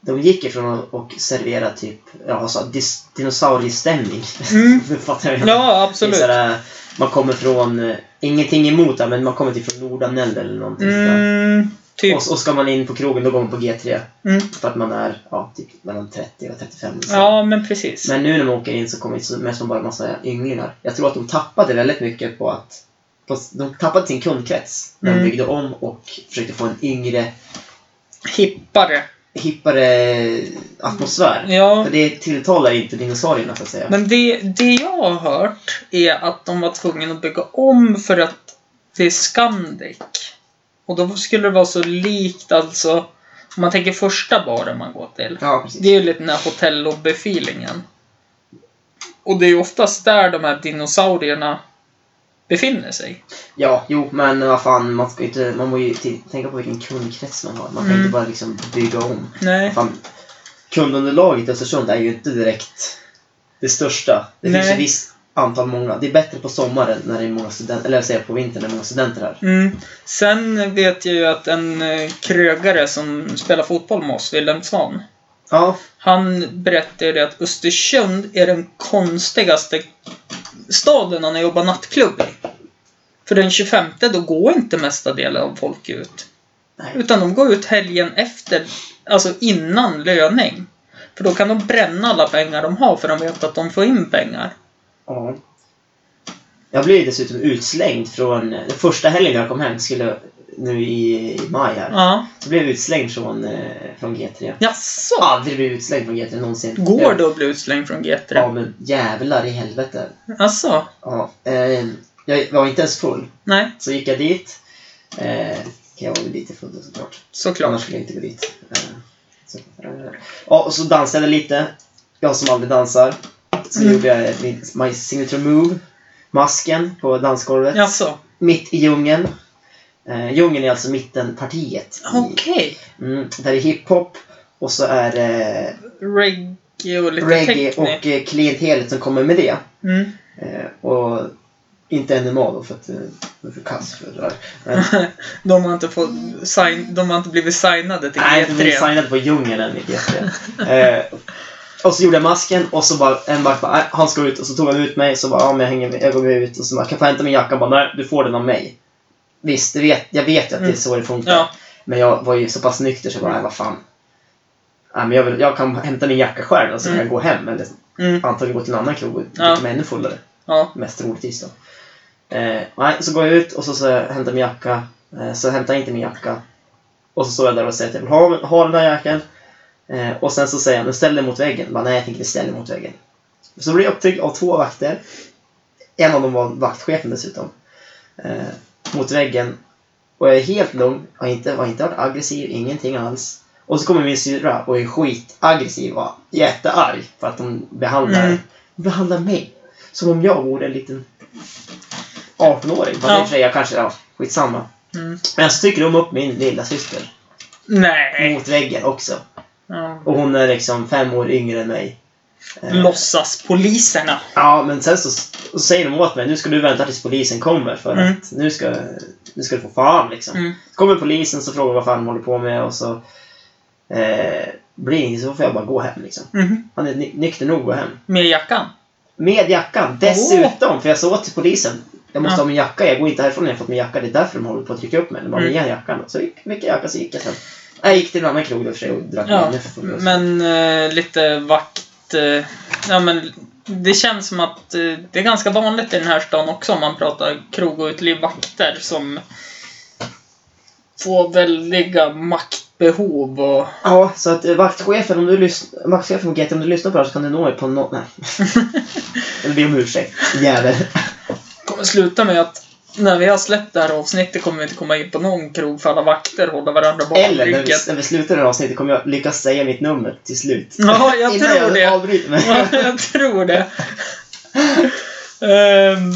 De gick ifrån att- och servera typ ja, alltså, dis, dinosauriestämning. Mm. Nu fattar jag. Ja, Det är absolut. sådär, man kommer från, eh, ingenting emot det, men man kommer typ från Nordanell eller någonting sådär. Mm, typ. Och, och ska man in på krogen då går man på G3. Mm. För att man är ja, typ mellan 30 och 35. Så. Ja, men precis. Men nu när man åker in så kommer det så- mest som bara en massa ynglingar. Jag tror att de tappade väldigt mycket på att... På, de tappade sin kundkrets när Mm. de byggde om och försökte få en yngre, Hippare. hippare atmosfär. Ja. För det tilltalar inte dinosaurierna så att säga. Men det, det jag har hört är att de var tvungna att bygga om för att det är Scandic. Och då skulle det vara så likt alltså, om man tänker första baren man går till. Ja, precis. Det är ju lite den här hotellobby-feelingen. Och det är ju oftast där de här dinosaurierna befinner sig. Ja, jo, men vad fan, man ska ju inte... Man måste ju till, tänka på vilken kundkrets man har. Man kan Mm. inte bara liksom bygga om. Nej. Fan, kundunderlaget i Östersund är ju inte direkt det största. Det finns Nej. ett visst antal många. Det är bättre på sommaren när det är många studenter, eller jag säger på vintern när det är många studenter här. Mm. Sen vet jag ju att en eh, krögare som spelar fotboll med oss, Wilhelm Svahn, Ja, Han berättade det att Östersund är den konstigaste staden han har jobbat nattklubb i. För den 25 då går inte mesta delen av folk ut. Nej. Utan de går ut helgen efter, alltså innan löning. För då kan de bränna alla pengar de har för de vet att de får in pengar. ja. Jag blev ju dessutom utslängd från, den första helgen jag kom hem, skulle nu i, i maj här, Ja. så blev jag utslängd från, eh, från G3. Jaså? Aldrig blivit utslängd från G3 någonsin. Går det att bli utslängd från Ja, G3? men jävlar i helvete. Jaså? Ja, eh, jag var inte ens full. Nej, Så gick jag dit. Eh, jag var väl lite full då såklart. Annars såklart. skulle jag inte gå dit. Eh, så, eh, ja, och så dansade jag lite. Jag som aldrig dansar. Så Mm. gjorde jag min, my signature move. Masken på dansgolvet. Jaså? Mitt i djungeln. Eh, djungeln är alltså mittenpartiet. i- Okej. Mm, där är hiphop. Och så är det Reggae och lite Mm. reggae techno. och eh, klientelet som kommer med det. Mm. Eh, och Inte NMA då för att eh, de är för kass för det där. Men, De har inte, fått sign, de har inte blivit signade till nej, vi G3. signade på djungeln i GT. Eh, och så gjorde jag masken och så bara en vakt bara, "Nej, han ska ut och så tog han ut mig så bara, ja men jag hänger med, jag går med ut och så bara, kan jag få hämta min jacka? Och bara, nej du får den av mig. Visst, det vet, jag vet ju att det är så det funkar. Mm. Ja, Men jag var ju så pass nykter så jag bara, nej vad fan. Nej, men jag, vill, jag kan hämta min jacka själv och så kan Mm. jag gå hem eller mm, antagligen gå till en annan krog och dricka Ja. mig ännu fullare. ja. Mest troligtvis då. Eh, nej, så går jag ut och så, så hämtar min jacka. Eh, så hämtar jag inte min jacka. Och så står jag där och säger att jag vill ha, ha den här jackan. Eh, och sen så säger han, "Men ställ den mot väggen. Bara, nej, jag tänker inte ställa den mot väggen. Så blir jag upptryckt av två vakter. En av dem var vaktchefen dessutom. Eh, mot väggen. Och jag är helt lugn. Har inte, har inte varit aggressiv, ingenting alls. Och så kommer min syrra och är skitaggressiv och jättearg för att de behandlar, Mm. behandlar mig som om jag vore en liten 18-åring. Fast i och Ja. för sig, jag kanske, ja, skitsamma. Mm. Men så trycker de upp min lilla syster Nej. mot väggen också. Ja. Och hon är liksom fem år yngre än mig. Eh, Låtsaspoliserna. Ja, men sen så, så säger de åt mig nu ska du vänta tills polisen kommer för Mm. att nu ska, nu ska du få fan liksom. Mm. Så kommer polisen så frågar vad fan de håller på med och så eh, blir det inget så får jag bara gå hem liksom. Mhm. Han är ny- nykter nog att gå hem. Med jackan. Med jackan dessutom, för jag sa till polisen jag måste ha min jacka, jag går inte härifrån när jag fått min jacka. Det är därför de håller på att trycka upp mig. De bara, Mm. ge jackan. Så gick, fick jag jacka så gick jag sen. Jag gick till en annan krog i och för sig och drack Ja, Mm, ännu för full öl. men eh, lite vakt... Eh, ja, men det känns som att eh, det är ganska vanligt i den här stan också om man pratar krog och utelivvakter som får väldiga maktbehov och... Ja, så att eh, vaktchefen, om du lyssnar, vaktchefen på GT, om du lyssnar på det här så kan du nå mig på något... Nej. Eller be om ursäkt, jävel. kommer sluta med att när vi har släppt det här avsnittet kommer vi inte komma in på någon krog för alla vakter håller varandra bakom Eller när ryggen. vi, när vi slutar det här avsnittet kommer jag lyckas säga mitt nummer till slut. Ja, jag Innan tror det. jag avbryter mig. Ja, jag tror det. Ehm,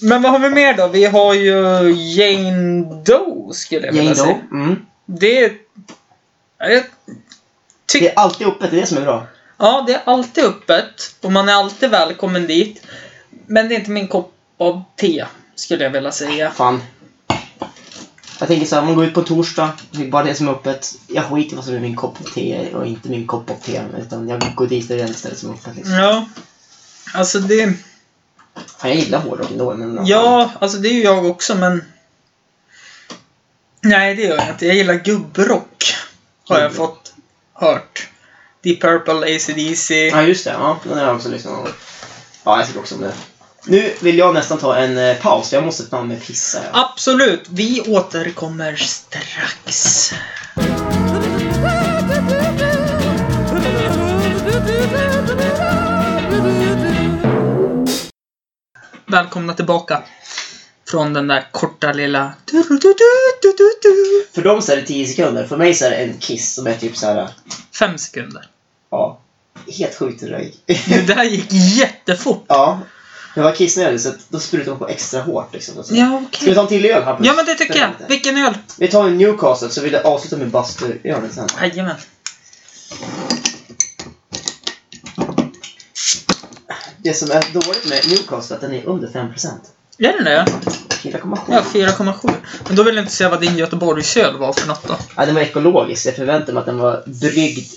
men vad har vi mer då? Vi har ju Jane Doe skulle jag Jane vilja Doe. säga. Mm. Det är... ja, Jag, Det är alltid öppet, det är det som är bra. ja, det är alltid öppet och man är alltid välkommen dit. Men det är inte min kopp av te skulle jag vilja säga. Fan. Jag tänker så här, om man går ut på torsdag, det är bara det som är öppet. Jag skiter i vad som är min kopp te och inte min kopp av te. Utan jag går dit och det är det stället som är öppet. Liksom. Ja. Alltså det... Fan, jag gillar hårdrock ändå. Men Ja, alltså det är ju jag också men... Nej, det gör jag inte. Jag gillar gubbrock. Har jag Gubbrock. fått hört. Deep Purple, AC/DC. Ja, just det. Ja, den har jag också lyssnat på. Ja, jag tycker också om det. Nu vill jag nästan ta en eh, paus, för jag måste fan med pissa. Ja. Absolut, vi återkommer strax. Välkomna tillbaka från den där korta lilla... För dem så är det 10 sekunder, för mig så är det en kiss som är typ så här. Fem sekunder. ja, helt sjukt röj. Det där gick jättefort. ja, jag var kissnödig så att då sprutade man på extra hårt liksom. Och så- Ja, Ska vi okej. ta en till öl Hampus? Ja, men det tycker jag. Vilken öl? Vi tar en Newcastle så vill jag avsluta med bastuölen sen. Jajamän. Det som är dåligt med Newcastle är att den är under 5%. Är den det? 4,7. Ja, 4,7. Men då vill jag inte säga vad din Göteborgsöl var för något då. Ja, den var ekologisk. Jag förväntade mig att den var bryggd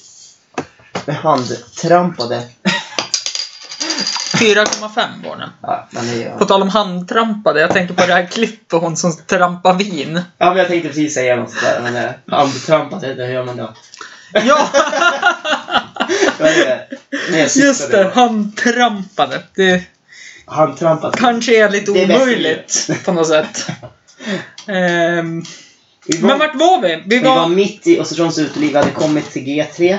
med handtrampade. 4,5 var den. Ja, men det är... På tal om handtrampade, jag tänker på det här klippet på hon som trampar vin. Ja, men jag tänkte precis säga något sådär, men eh, handtrampade, det gör man då. Ja, Vad är det? Nej, jag syftade just det. på- Handtrampade. Det Handtrampat. kanske är lite Det är bäst omöjligt på något sätt. Ehm, Vi var, men vart var vi? Vi vi var var... mitt i Östersunds uteliv, vi hade kommit till G3.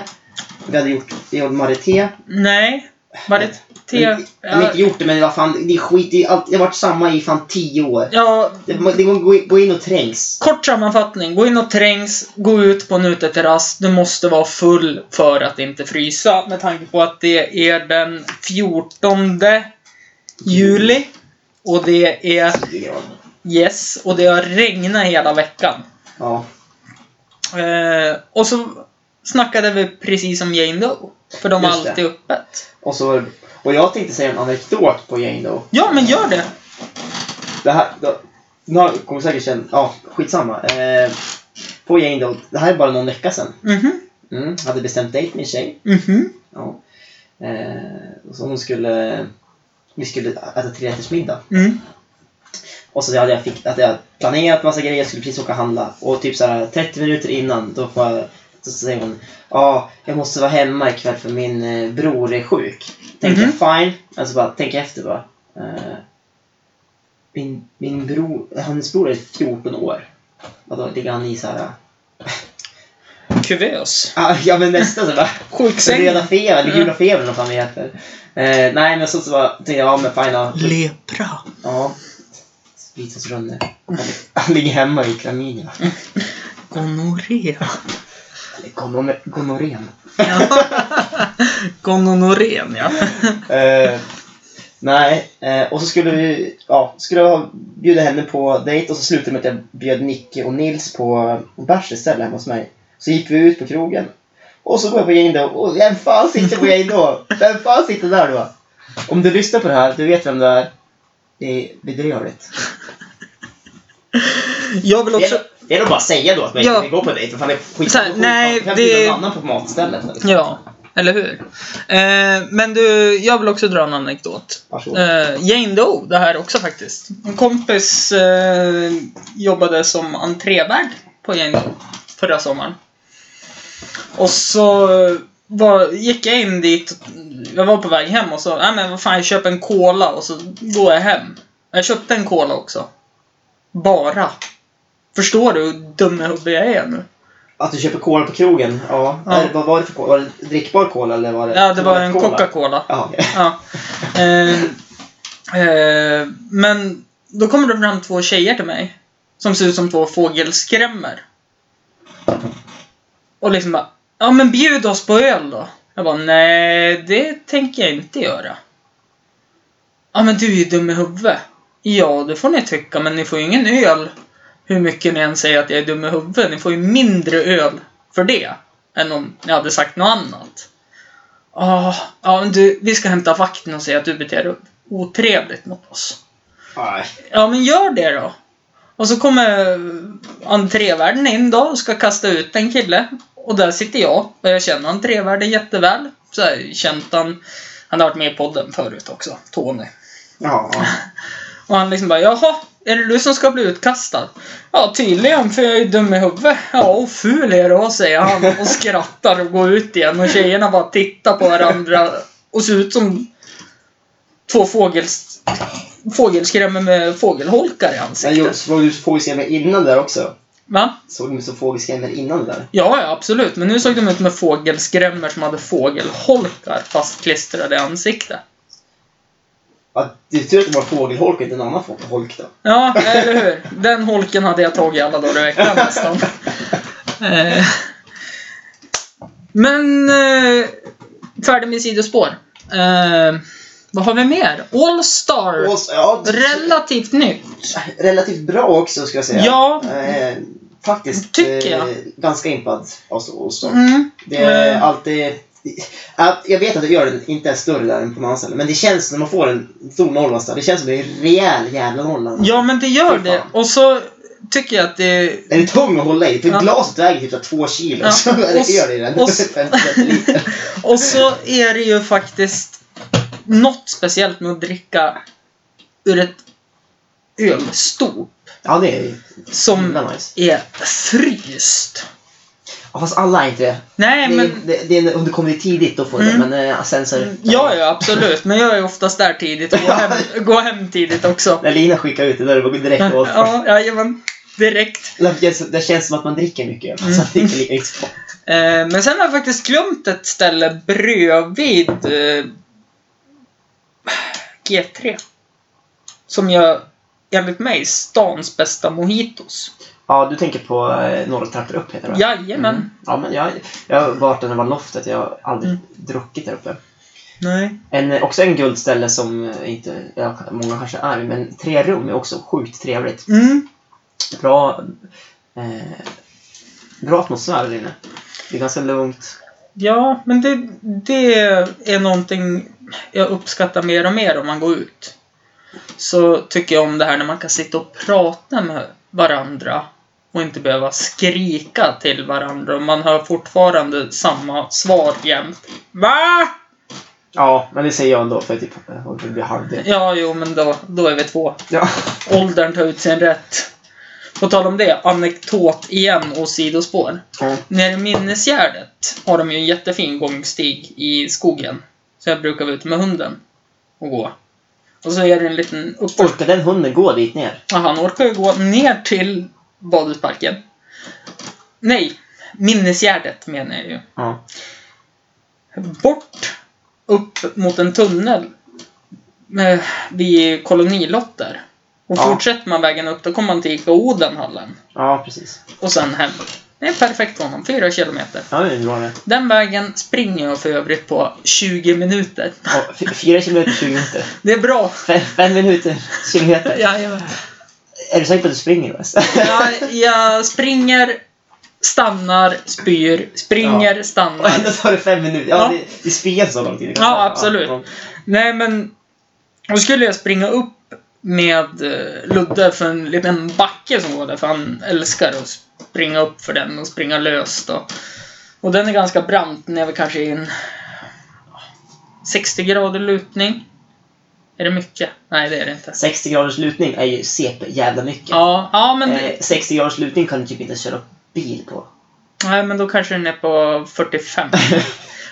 Vi hade gjort, vi hade Marité. Nej. Var det Jag te... har inte gjort det, men det var fan, det är skit, det, är allt, det har varit samma i fan 10 år. Ja, Det, må- det går gå in- gå in och trängs. Kort sammanfattning. Gå in och trängs, gå ut på en uteterrass. Du måste vara full för att inte frysa med tanke på att det är den 14 juli. Och det är yes, och det har regnat hela veckan. Ja. Eh, och så snackade vi precis om Jane Doe. För de har Just det. alltid öppet. Och, så, och jag tänkte säga en anekdot på Jane Doe. Ja, men gör det! Det här, då, nu har- kommer säkert känna, ja skitsamma. Eh, på gäng då, det här är bara någon vecka sedan. Mhm. Mm, hade bestämt dejt med en tjej. Mhm. Ja. Eh, så hon skulle, vi skulle äta trerättersmiddag. Mm. Och så hade jag, fick, att jag planerat massa grejer, jag skulle precis åka och handla. Och typ så här 30 minuter innan, då får jag, så säger hon Ja, jag måste vara hemma ikväll för min eh, bror är sjuk. Tänkte Mhm. jag, fine. Alltså bara, tänk efter bara. Eh, min, min bror, hans bror är 14 år. Och då ligger han i så här... Kuvös. ah, ja men nästan så bara... Röda Sjuksäng. feber, eller gula feber eller vad fan det heter. Eh, nej men så, så bara, tänkte jag, ja men fine. ja. Lepra. Ja. Vitas runder. Han ligger hemma i klamydia. Gonorré. Eller gonor- gonorrén. Gonorrén, ja. Eh, nej, eh, och så skulle vi ja, skulle jag bjuda henne på dejt och så slutade det med att jag bjöd Nicke och Nils på bärs istället hemma hos mig. Så gick vi ut på krogen. Och så går jag på Jane då. Och vem fan sitter på Jane då? Vem fan sitter där då? Om du lyssnar på det här, du vet vem det är. Det är bedrövligt. Jag vill Det är, också... det är nog bara att säga då att man inte Ja. vill gå på dejt. Vad fan, det är skit. Så här, nej, Vem det- bjuder någon annan på matstället? Liksom? Ja, eller hur? Eh, men du, jag vill också dra en anekdot. Varsågod. Eh, Jane Doe, det här också faktiskt. En kompis eh, jobbade som entrévärd på Jane Doe förra sommaren. Och så eh, var, gick jag in dit, jag var på väg hem och så, nej men vad fan jag köper en cola och så går jag hem. Jag köpte en cola också. Bara. Förstår du hur dum i huvudet jag är nu? Att du köper cola på krogen? Ja. Ja. Eller Vad var det för cola? Var det drickbar cola eller var det Ja, det var en tomatcola? Coca-Cola. Ja, okej. Ja. Eh, eh, men då kommer det fram två tjejer till mig. Som ser ut som två fågelskrämmor. Och liksom bara, ja men bjud oss på öl då. Jag bara, nej det tänker jag inte göra. Ja men du är ju dum i huvudet. Ja det får ni tycka men ni får ju ingen öl. Hur mycket ni än säger att jag är dum i huvudet. Ni får ju mindre öl för det. Än om ni hade sagt något annat. Ja, Ah, ja men du, vi ska hämta vakten och säga att du beter dig otrevligt mot oss. Nej. Ja, men gör det då. Och så kommer entrévärden in då och ska kasta ut en kille. Och där sitter jag och jag känner entrévärden jätteväl. Så jag har ju känt han, han har varit med i podden förut också, Tony. Ja. Och han liksom bara, jaha, är det du som ska bli utkastad? Ja, tydligen, för jag är ju dum i huvudet. Ja, och ful är du, säger han och skrattar och går ut igen. Och tjejerna bara tittar på varandra och ser ut som två fågels... fågelskrämmor med fågelholkar i Men jo, ansiktet. såg du fågelskrämmor innan det där också? Va? Såg du så fågelskrämmor innan det där? Ja, ja, absolut. Men nu såg de ut med fågelskrämmor som hade fågelholkar fastklistrade i ansiktet. Ja, det är tur att det var fågelholk och inte en annan fågel- holk då. Ja, eller hur? Den holken hade jag tagit alla dagar i veckan nästan. Eh, Men, eh, färdig med sidospår. Eh, vad har vi mer? Allstar. Och så- ja, det- Relativt nytt. relativt bra också ska jag säga. Ja. Eh, faktiskt. Tycker jag. Eh, ganska impad av Olsson. Mm. Det är Men- alltid... Att, jag vet att jag gör den inte är större där än på någon annan ställe, men det känns när man får en stor Norrlandsstad, det känns som det är en rejäl jävla Norrland. Ja, men det gör Fy det. fan. Och så tycker jag att det... Den är tung att hålla i, för Ja. glaset väger typ så här två kilo. Ja. Så är Och s- det öl i den. och s- 50 liter. Och så är det ju faktiskt något speciellt med att dricka ur ett ölstop Ja, det är ju som himla nice. är fryst. Ja, fast alla är inte det. Nej, det, är, men... det, det är, om du kommer dit tidigt då får du Mm. det, men eh, sen så är det... Ja, ja, absolut. Men jag är oftast där tidigt och går hem, går hem tidigt också. När Lina skickade ut det där, det var direkt åt. Ja, jajamän. Direkt. Det, känns, det känns som att man dricker mycket. Så att det inte är Mm. lika extra. Eh, men sen har jag faktiskt glömt ett ställe bredvid eh, G3. Som gör, enligt mig, stans bästa mojitos. Ja, du tänker på eh, Norra Trappor upp heter det va? Jajamän. Mm. Ja, men jag, jag har varit där när det var loftet. Jag har aldrig Mm. druckit där uppe. Nej. En, eh, också en guldställe som eh, inte ja, många kanske är men tre rum är också sjukt trevligt. Mm. Bra, eh, bra atmosfär där inne. Det är ganska lugnt. Ja, men det, det är någonting jag uppskattar mer och mer om man går ut. så tycker jag om det här när man kan sitta och prata med varandra och inte behöva skrika till varandra och man hör fortfarande samma svar jämt. VA? Ja, men det säger jag ändå för att typ, eh, det blir halvdel. Ja, jo, men då, då är vi två. Ja. Åldern tar ut sin rätt. På tal om det, anekdot igen och sidospår. Mm. Nere i Minnesgärdet har de ju en jättefin gångstig i skogen. Så jag brukar vara ute med hunden och gå. Och så är det en liten uppförs... Orkar den hunden gå dit ner? Ja, han orkar ju gå ner till badhusparken. Nej, Minnesgärdet menar jag ju. Ja. Bort upp mot en tunnel eh, vid kolonilotter. Och Ja. fortsätter man vägen upp, då kommer man till Ica Odenhallen. Ja, precis. Och sen hem. Det är perfekt för honom, fyra kilometer. Ja, det är bra det. Den vägen springer jag för övrigt på 20 minuter. Ja, f- fyra kilometer, 20 minuter. Det är bra. Fem, fem minuter, 20 minuter. Ja, jag, Är du säker på att du springer Wes? jag, jag springer, stannar, spyr, springer, Och stannar. ändå tar det fem minuter. Ja, Ja. Det, det springer så lång tid. Det kan Ja, ta- absolut. ja. Nej, men då skulle jag springa upp med eh, Ludde för en liten backe som går där, för han älskar att springa upp för den och springa löst. Och, och den är ganska brant, när vi kanske är i en 60 grader lutning. Är det mycket? Nej, det är det inte. 60 graders lutning är ju CP jävla mycket. Ja, ja men, det, Eh, 60 graders lutning kan du typ inte köra bil på. nej, men då kanske den är på 45.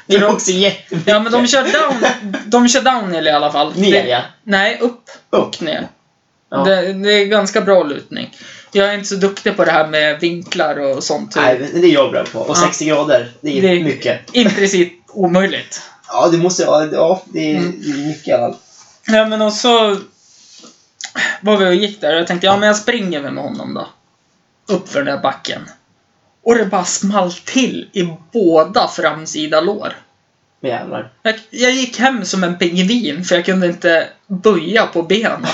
Det För är de- också jättemycket. Ja, men de kör down, de kör downhill i alla fall. Ner, Det- ja. Nej, upp Upp. och ner. Ja. Det, det är ganska bra lutning. Jag är inte så duktig på det här med vinklar och sånt. Nej, men det är jag bra på. Och Ja. 60 grader, det är Det är- mycket. I princip omöjligt. Ja, det måste ja, det- ja, det är, Mm. det är mycket i alla fall. Ja, men och så var vi och gick där och jag tänkte, ja men jag springer väl med honom då. Upp för den där backen. Och det bara small till i båda framsida lår. Men jävlar. Jag, jag gick hem som en pingvin för jag kunde inte böja på benen.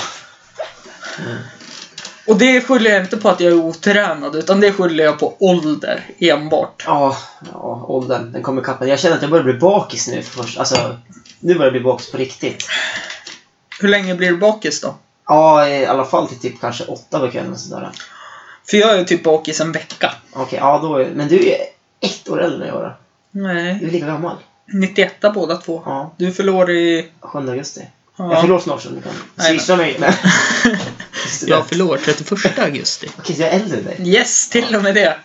Och det skyller jag inte på att jag är otränad utan det skyller jag på ålder enbart. Ja, ja åldern. Den kommer kappa. Jag känner att jag börjar bli bakis nu. För först, alltså, nu börjar jag bli bakis på riktigt. Hur länge blir du bakis då? Ja, i alla fall till typ kanske åtta på kvällen och sådär. För jag är typ bakis en vecka. Okej, ja då är, Men du är ett år äldre än jag då. Du Nej. är lika gammal. 91 båda två. Ja, Du förlorar i... 7 augusti. Jag Ja. förlorar snart så du kan Nej, swisha mig. Nej. Jag förlorar 31 augusti. Okej, så jag är äldre än dig. Yes, till och med det.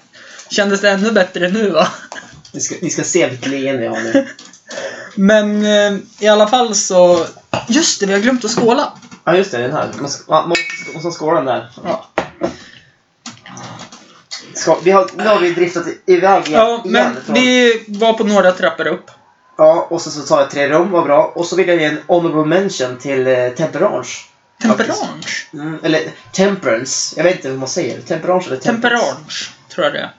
Kändes det ännu bättre nu va? Ni ska, ni ska se vilket leende jag har nu. Men eh, i alla fall så... Just det, vi har glömt att skåla. Ja, just det. Den här. Man, ska- man, man, man ska skåla den där. Ja. Ska, vi har, nu har vi driftat iväg igen. Ja, men igen från- vi var på några trappor upp. Ja, och så, så tar jag tre rum, vad bra. Och så vill jag ge en honorable mention till eh, Temperance. Temperange. Mm, eller Temperance. Jag vet inte hur man säger. Temperance eller Temperance. Temperange, tror jag det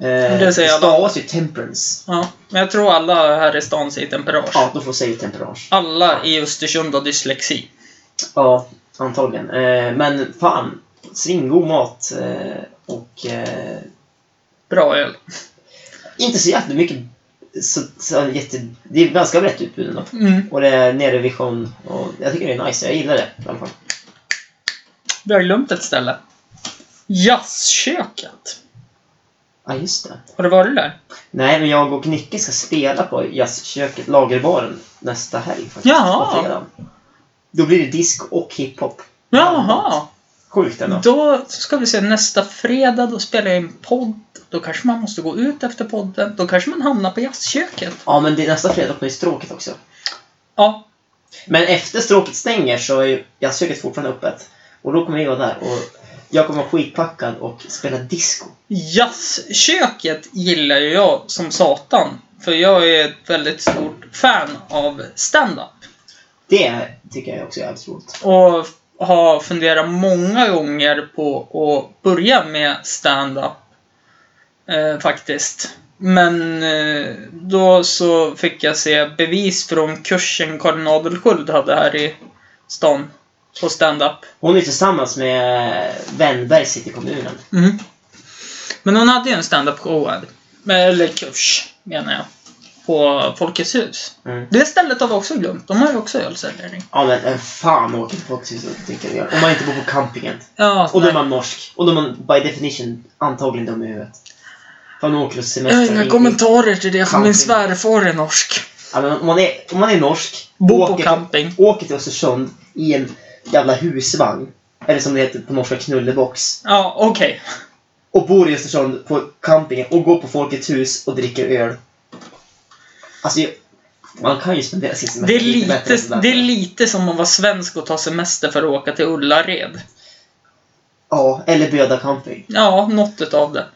är. Eh, Det säger jag då. stavas ju Temperance. Ja, men jag tror alla här i stan säger temperage. Ja, då får jag säga Temperance. Alla i Östersund har dyslexi. Ja, antagligen. Eh, men fan. Svingod mat. Eh, och eh, Bra öl. inte så jättemycket. Så, så, jätte, det är ganska brett utbud ändå. Mm. Och det är nere vid sjön. Och jag tycker det är nice. Jag gillar det i alla fall. Vi har glömt ett ställe. Jazzköket. Ja, just det. Har du varit där? Nej, men jag och Nicke ska spela på jazzköket, lagerbaren, nästa helg faktiskt. Jaha. På fredag. Då blir det disco och hiphop. Jaha! Sjukt ändå. Då ska vi se, nästa fredag då spelar jag in podd. Då kanske man måste gå ut efter podden. Då kanske man hamnar på jazzköket. Ja, men det är nästa fredag öppnar ju stråket också. Ja, Men efter stråket stänger så är ju jazzköket fortfarande öppet. Och då kommer vi vara där och jag kommer vara skitpackad och spela disco. Jazzköket gillar ju jag som satan. För jag är ett väldigt stort fan av stand-up. Det tycker jag också är jävligt roligt. Och har funderat många gånger på att börja med stand-up. Eh, faktiskt. Men eh, då så fick jag se bevis från kursen Karin Adelsköld hade här i stan. På stand-up. Hon är tillsammans med Wennberg sitter i kommunen. Mm. Men hon hade ju en stand-up show här. Eller kurs, Eh, menar jag. på Folkets hus. Mm. Det stället har vi också glömt. De har ju också ölservering. Ja men en fan åker till Folkets hus och dricker öl. Om man inte bor på campingen. Ja, Och då är Alltså, nej. man norsk. Och då är man by definition antagligen dum i huvudet. För man åker och Jag har semestrar. inga i- kommentarer till det för min Camping. svärfar är norsk. Ja, men om, man är, om man är norsk. Bor och på camping. åker till Östersund i en jävla husvagn. Eller som det heter på norska, knullebox. Ja, okej. Och bor i Östersund på campingen och går på Folkets hus och dricker öl. Alltså, jag- man kan ju spendera sin semester Det, är bättre än lite, sådär. det är lite som att vara svensk och ta semester för att åka till Ullared. Ja, eller Böda camping. Ja, något utav det.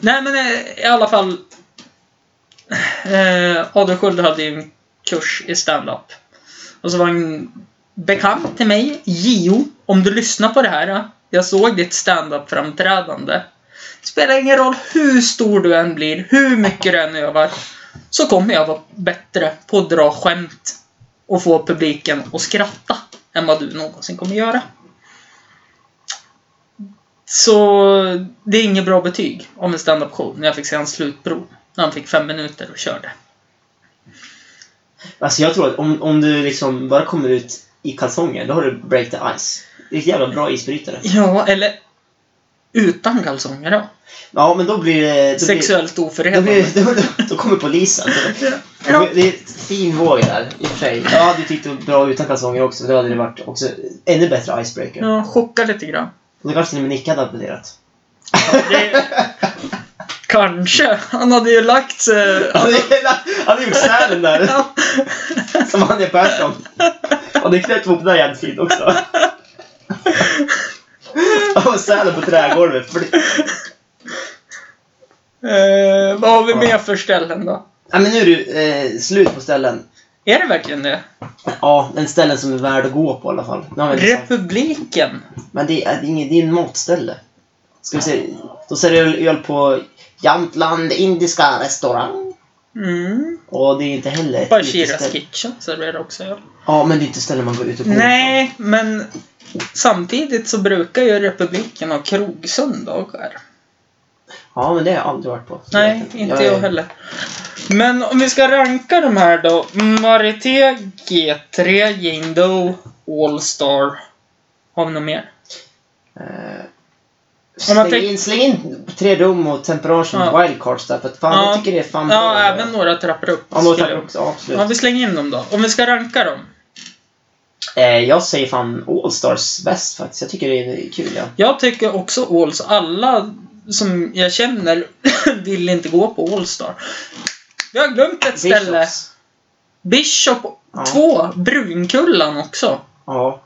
Nej men eh, i alla fall. Eh, Adelsköld hade ju en kurs i stand-up. Och så var en bekant till mig, Gio, om du lyssnar på det här. eh, Jag såg ditt stand-up-framträdande. Spelar ingen roll hur stor du än blir, hur mycket du än övar. Så kommer jag vara bättre på att dra skämt och få publiken att skratta än vad du någonsin kommer göra. Så det är inget bra betyg om en standup-show när jag fick se hans slutprov. När han fick fem minuter och körde. Alltså jag tror att om, om du liksom bara kommer ut i kalsonger, då har du break the ice. Det är ett jävla bra isbrytare. Ja, eller utan kalsonger då. Ja, men då blir det... Då Sexuellt Blir, då, oförenande. blir, då, då, då kommer polisen. Ja. Det är ett fin våg där, i och för sig. Ja, du tyckte bra utan kalsonger också, för då hade det varit också ännu bättre icebreaker. Ja, chockar lite grann. Och då kanske till och med Nick hade applåderat. Det... Kanske. Han hade ju lagt sig... Han hade- han hade gjort sälen där, Ja. som han är Persson. Och det knöt ihop den där jävligt fint också. Och sälen på trägolvet. För det, Eh, vad har vi mer för ställen då? Ja, men nu är du eh, slut på ställen. Är det verkligen det? Ja, den ställen som är värd att gå på i alla fall. Nu har vi liksom- Republiken. men det är, det är ingen- det är en matställe. Ska vi se. Då säljer öl, öl på Jamtland indiska restaurang. Mm. Och det är inte heller... ett Bashiras uteställe. kitchen serverar också öl. Ja, men det är inte ställen man går ut och bor på. Nej, men samtidigt så brukar ju republiken ha krogsöndagar. Ja, men det har jag aldrig varit på. Så jag Nej, vet inte jag heller. Men om vi ska ranka de här då. Marité, G3, Jindo, All-Star. Har vi något mer? Eh, Om man släng, tänk- in, släng in tre rum och temperage som Ja. wildcards där, för att fan, Ja. jag tycker det är fan Ja, även några trappor upp. Ja, några skulle tappar jag- också. Ja, absolut. Ja, vi slänger in dem då. Om vi ska ranka dem. Eh, jag säger fan Allstars bäst faktiskt. Jag tycker det är kul, ja. Jag tycker också Alls. Alla som jag känner vill inte gå på All-Star. Vi har glömt ett ställe. Bishops. Bishop Ja. 2, Brunkullan också. Ja.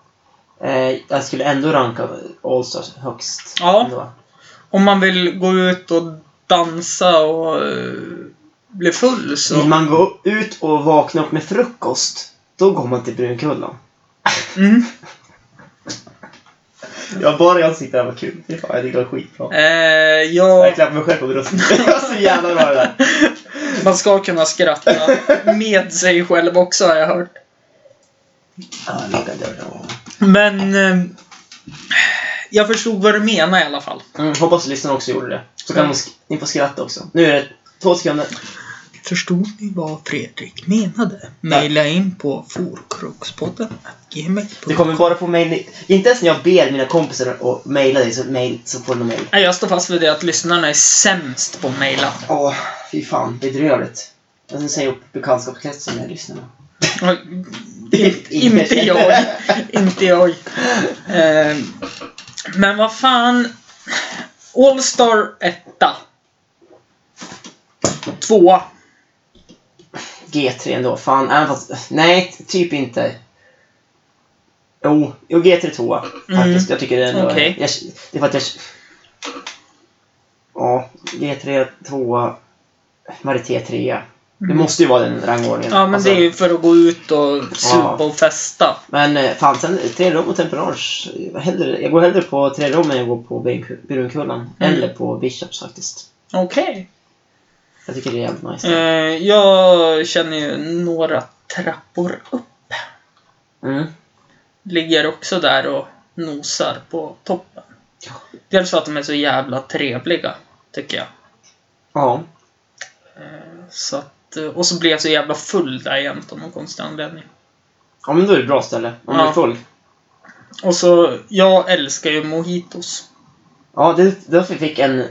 Eh, jag skulle ändå ranka Allstars högst. Ja. Ändå. Om man vill gå ut och dansa och eh, bli full Vill så... man gå ut och vakna upp med frukost, då går man till Brunkullan. Mm. Ja, bara jag sitter där var kul. Fy fan, jag tycker det var skitbra. Eh, Jag ja, klappar mig själv på bröstet. Det var så jävla bra det där. man ska kunna skratta med sig själv också har jag hört. Ja, jag lockar dörren. Men... Eh, jag förstod vad du menar i alla fall. Mm, hoppas lyssnarna också gjorde det. Så kan de sk- ni få skratta också. Nu är det två sekunder. Förstod ni vad Fredrik menade? Maila in på forkrokspodden Du kommer bara få mejl. Inte ens när jag ber mina kompisar att mejla dig så, mail, så får de mejl. Nej, jag står fast vid det att lyssnarna är sämst på att mejla. Åh, fy fan. Bedrövligt. Jag ska säga upp bekantskapskretsen med lyssnarna. Typ In, inte jag. Inte jag. Eh, men vad fan. Allstar etta. Tvåa. G3 ändå. Fan, även fast... Nej, typ inte. Jo, jo G3 tvåa. Faktiskt. Jag tycker det ändå... Mm. Okej. Jag, det är för att jag... Ja, G3 tvåa. Marité trea. Det måste ju vara den rangordningen. Mm. Ja, men Alltså, det är ju för att gå ut och supa och festa. Men eh, fan, sen tre rum och temperage. Jag, hellre, jag går hellre på tre rum än jag går på Brun- Brunkullan. Mm. Eller på Bishops faktiskt. Okej. Jag tycker det är jävligt nice. Eh, jag känner ju några trappor upp. Mm. Ligger också där och nosar på toppen. Dels för att de är så jävla trevliga, tycker jag. Ja. Så att... att, eh, och så blev jag så jävla full där jämt av någon konstig anledning. Ja, men då är det ett bra ställe. Om du Ja. är full. Och så, jag älskar ju mojitos. Ja, det är därför jag fick en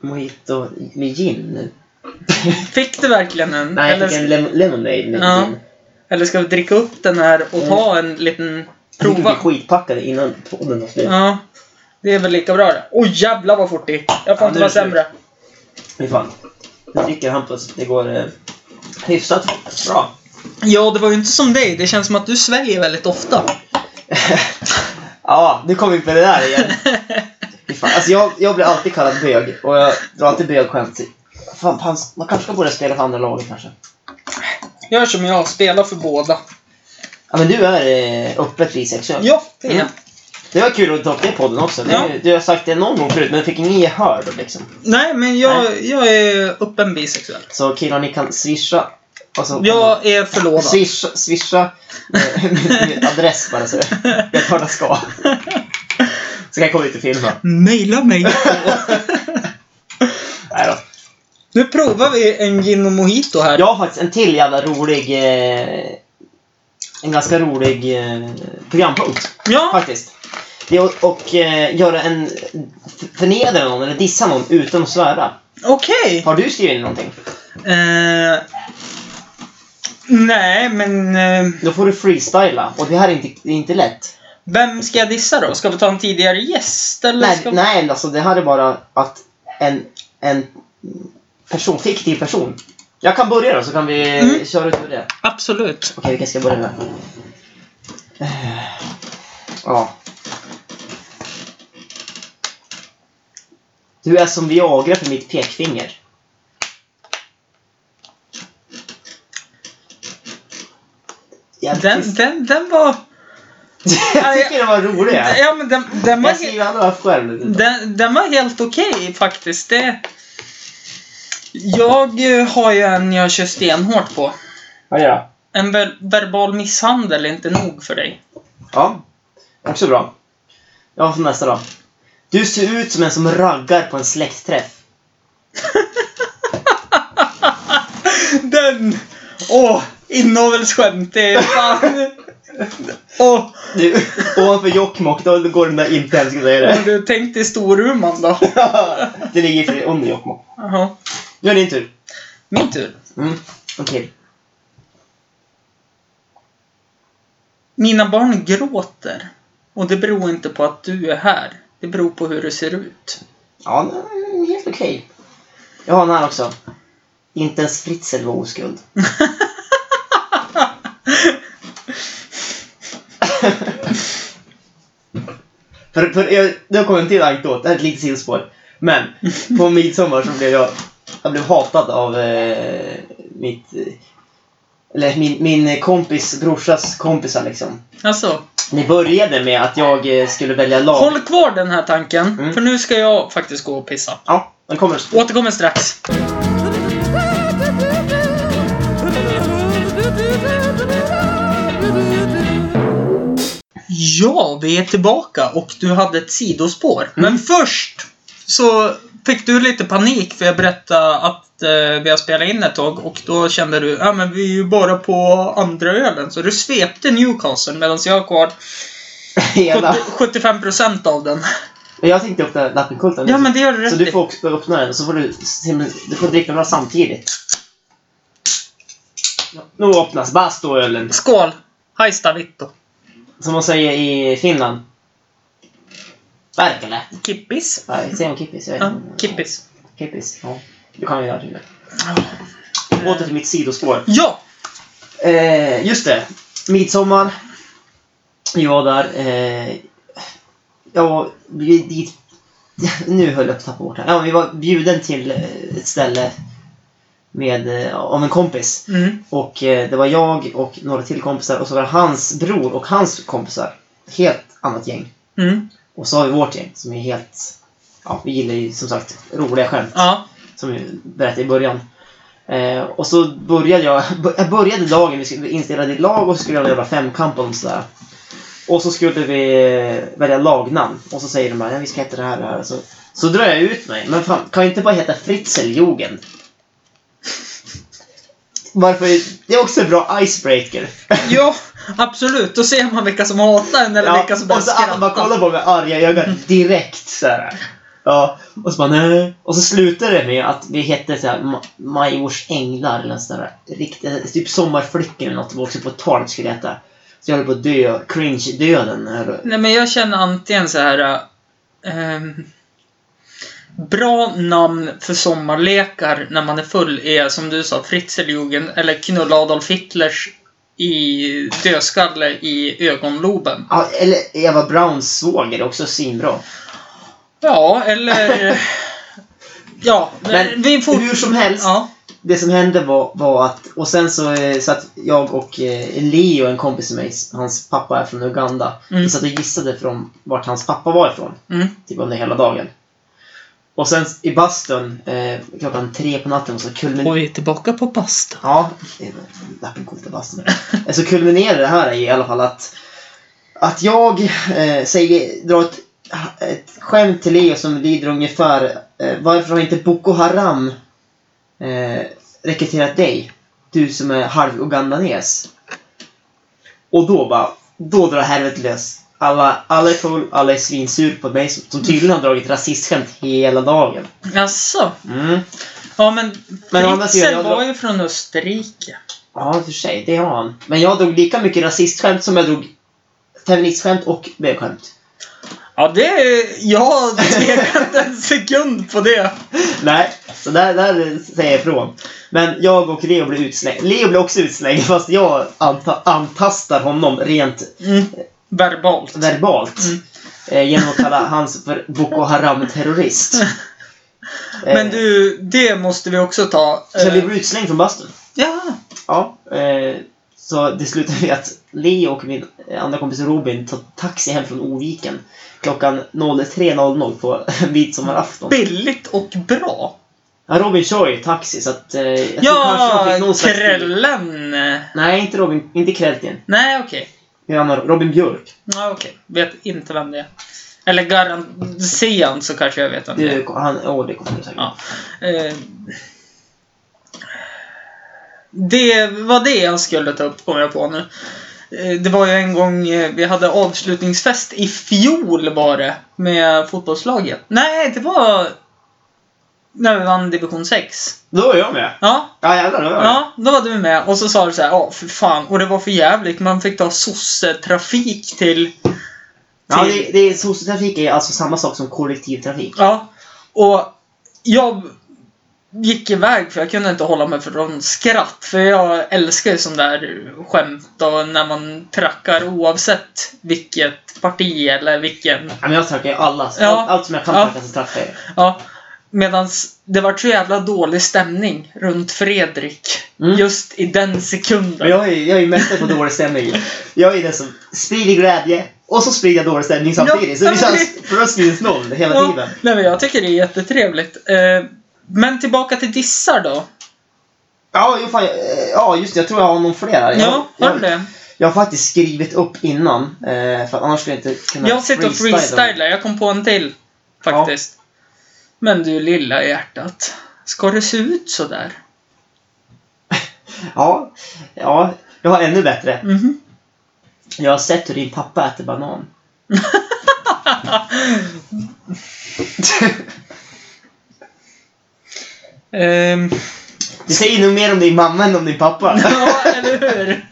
mojito med gin nu. Fick du verkligen en? Nej, eller, jag fick en lem- lemonade med Ja. gin. eller ska vi dricka upp den här och Mm. ta en liten... Jag tycker vi Prova. är skitpackade innan podden var slut. Ja. Det är väl lika bra det. Oj jävlar vad fort det gick. Jag får Ja, nu inte är vara det slut. sämre. Fy fan. Nu dricker Hampus. Det går eh, hyfsat bra. Ja, det var ju inte som dig. Det känns som att du sväljer väldigt ofta. ja, nu kommer vi på det där igen. Fy fan. Alltså, jag, jag blir alltid kallad bög och jag drar alltid bögskämt. Fan, fan, man kanske borde spela för andra laget kanske. Gör som jag, spela för båda. Ja, men du är eh, öppet bisexuell. Ja, det är Mm. jag. Det var kul att ta upp det i podden också. Det, Ja. Du har sagt det någon gång förut, men du fick ingen gehör då liksom. Nej, men jag, jag är öppen bisexuell. Så killar, ni kan swisha. Alltså, Jag är förlovad. Swisha, swisha eh, min, min adress bara så jag tar det ska. Så kan jag komma ut och filma. Maila mig. Nej då. nu provar vi en gin och mojito här. Jag har faktiskt en till jävla rolig... Eh, en ganska rolig eh, programpunkt Ja, faktiskt. Det är att och, eh, göra en... Förnedra någon eller dissa någon utan att svära. okej. Har du skrivit in någonting? Eh, nej, men eh, Då får du freestyla och det här är inte, det är inte lätt. vem ska jag dissa då? Ska vi ta en tidigare gäst? Eller Nej, ska... nej, alltså det här är bara att en, en person, fiktiv person. Jag kan börja då så kan vi Mm. köra ut med det. Absolut. Okej, vilken ska jag börja med? Eh, Ja. Du är som Viagra för mitt pekfinger. Jag, Den, den, den var... jag tycker det var roligt. Jag, Ja, men den, den, var, jag he- skriver alla själv. den, den var helt okej faktiskt. Det... Jag eh, har ju en jag kör stenhårt på. Vad gör jag? En ver- verbal misshandel är inte nog för dig. Ja, också bra. Ja, vad för nästa då? Du ser ut som en som raggar på en släktträff. Den! Åh, inavelsskämt. Det är fan... Åh, Du, ovanför Jokkmokk, då går den där inte ens, ska jag säga har det. du tänkt i Storuman då? det ligger för under Jokkmokk. Jaha. Nu är det din tur. Min tur. Mm, okej. Mina barn gråter. Och det beror inte på att du är här. Det beror på hur du ser ut. Ja, nej, helt okej. Jag har den här också. Inte ens Fritzl var oskuld. för, för jag, jag kommer till en anekdot, det här är ett litet sidospår. Men på midsommar så blev jag, jag blev hatad av eh, mitt, eh, eller min, min kompis brorsas kompisar liksom. Alltså, Det började med att jag eh, skulle välja lag. håll kvar den här tanken. Mm. För nu ska jag faktiskt gå och pissa. Ja, den kommer. Återkommer strax. Ja, vi är tillbaka och du hade ett sidospår. Mm. Men först så fick du lite panik för jag berättade att eh, vi har spelat in ett tag och då kände du ja men vi är ju bara på andra ölen. Så du svepte Newcastle medan jag har kvar Hela. 70, 75% av den. Men Jag tänkte öppna lappenkultan. Ja men det gör du Så rätt du i. får också öppna den, så får du, du får dricka några samtidigt. Nu öppnas bastuölen, Skål! Hajsta Vitto. som man säger i Finland. Verkele. Kippis. Nej, Säger man kippis? Jag vet Ja, inte. kippis. Kippis, ja. Du kan ju göra det. Åter till mitt sidospår. Ja! Eh, just det. Midsommar. Jag var där. Eh, jag var bjud- dit... Nu höll jag på att tappa bort det här. Ja, vi var bjuden till eh, ett ställe med, eh, av en kompis. Mm. Och eh, det var jag och några till kompisar och så var det hans bror och hans kompisar. Helt annat gäng. Mm. Och så har vi vårt gäng som är helt... Ja, vi gillar ju som sagt roliga skämt Ja. som vi berättade i början. Eh, och så började jag, jag började dagen, vi skulle- vi inställade ett lag och så skulle jag göra femkamp och sådär. Och så skulle vi eh, välja lagnamn och så säger de här, ja, vi ska heta det här och det här. Så, så drar jag ut mig, men fan, kan jag inte bara heta Fritzeljugend? Varför? Det är också en bra icebreaker. Jo, absolut. Då ser man vilka som hatar en eller Ja, vilka som börjar och så skratta. alla bara kollar på mig med arga ögon direkt så här. Ja, och så bara nej. Och så slutar det med att vi hette så här Ma- Majors änglar eller en sån där riktigt, typ sommarflickor eller något, det var också på tal skulle heta. Så jag höll på att dö, cringe-döden. eller- Nej, men jag känner antingen så här... ehm, bra namn för sommarlekar när man är full är, som du sa, Fritzeljugend eller knulla Adolf Hitlers i dödskalle i ögonloben. Ja, eller Eva Browns svåger, också svinbra. Ja, eller... ja, Men vi får... hur som helst. Ja. det som hände var, var att, och sen så eh, satt jag och eh, Leo, en kompis till mig, hans pappa är från Uganda. Mm. Vi satt och gissade från vart hans pappa var ifrån, Mm. typ under hela dagen. Och sen i bastun, eh, klockan tre på natten, så kulminerade... Och vi är tillbaka på basta. Ja, det är väl lappen coolt att bastun. Eh, Så kulminerar det här i alla fall att, att jag eh, säger, drar ett, ett skämt till Leo som lyder ungefär eh, Varför har inte Boko Haram eh, rekryterat dig? Du som är halv ugandanes. Och då bara, då drar helvetet lös. Alla, alla är full, alla är svinsur på mig som, som tydligen har dragit rasistskämt hela dagen. Jaså? Mm. Ja, men... Men å andra sidan, Fritzel jag- var ju från Österrike. Ja, i och för sig. Det har han. Men jag drog lika mycket rasistskämt som jag drog feministskämt och bögskämt. Ja, det... är- Jag tvekar inte en sekund på det. Nej, så där, där säger jag ifrån. Men jag och Leo blev utslängda. Leo blev också utslängd, fast jag anta- antastar honom rent Mm. Verbalt. verbalt. Mm. Eh, genom att kalla hans för Boko Haram-terrorist. Eh, Men du, det måste vi också ta. Så Eh, vi blev utslängda från bastun. Ja. Ja. Eh, så det slutade med att Leo och min andra kompis Robin tog taxi hem från Oviken klockan 03.00 på midsommarafton. Billigt och bra. Ja, Robin kör ju taxi så att... Eh, jag tror kanske de fick Ja, någon slags- Krällen. eh, Nej, inte Robin. Inte Krältin. Nej, okej. Annan, Robin Björk. Ja, okej. Vet inte vem det är. Eller garanterat så kanske jag vet vem det är. Du, han, åh, det kommer du säkert. Ja. Eh, Det var det jag skulle ta upp, kom jag på nu. Eh, Det var ju en gång eh, vi hade avslutningsfest i fjol var det, med fotbollslaget. Nej, det var när vi vann division 6. Då är jag med. Ja, Ja, jävlar. Då är jag med. ja, då var du med och så sa du så här, ja för fan, och det var för jävligt. Man fick ta sossetrafik till... Ja, till- det, det är, sociotrafik är alltså samma sak som kollektivtrafik. Ja. Och jag gick iväg för jag kunde inte hålla mig från skratt. För jag älskar ju sån där skämt och när man trackar oavsett vilket parti eller vilken. Ja, men jag tackar ju alla. Ja. Allt, allt som jag kan Ja. tacka så tackar jag. Ja. Medans det var så jävla dålig stämning runt Fredrik. Mm. Just i den Men sekunden. jag är, jag är mästare på dålig stämning. Jag är den som sprider glädje och så sprider jag dålig stämning samtidigt. Så Ja, det men känns bröstminus noll hela Ja, tiden. nej, men jag tycker det är jättetrevligt. Eh, Men tillbaka till dissar då. Ja, jo, fan, eh, ja, just det. Jag tror jag har någon fler här. Jag- Ja, har du jag, det? jag har faktiskt skrivit upp innan. eh, För att annars skulle jag inte kunna Jag sitter och freestylar, jag kom på en till. Faktiskt. Men du lilla hjärtat. Ska det se ut sådär? Ja, ja, jag har ännu bättre. Mhm. Jag har sett hur din pappa äter banan. Ehm, Det säger nog mer om din mamma än om din pappa. ja, eller hur?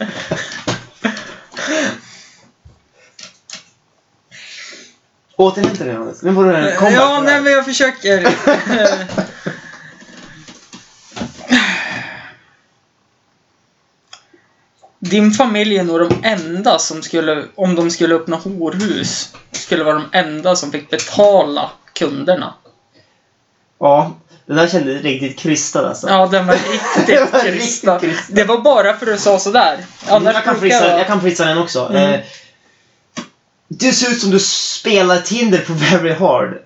Återhämta dig Johannes. Nu får du en comeback. ja, nej men jag försöker. Eh, Din familj är nog de enda som skulle, om de skulle öppna horhus, skulle vara de enda som fick betala kunderna. ja, den där kändes riktigt krystad alltså. Ja, den var Den var riktigt riktigt kristna. kristen. Det var bara för att du sa sådär. Annars jag, kan brukar fritsa, jag- jag kan fritsa den också. Mm. Eh, du ser ut som du spelar Tinder på Very Hard.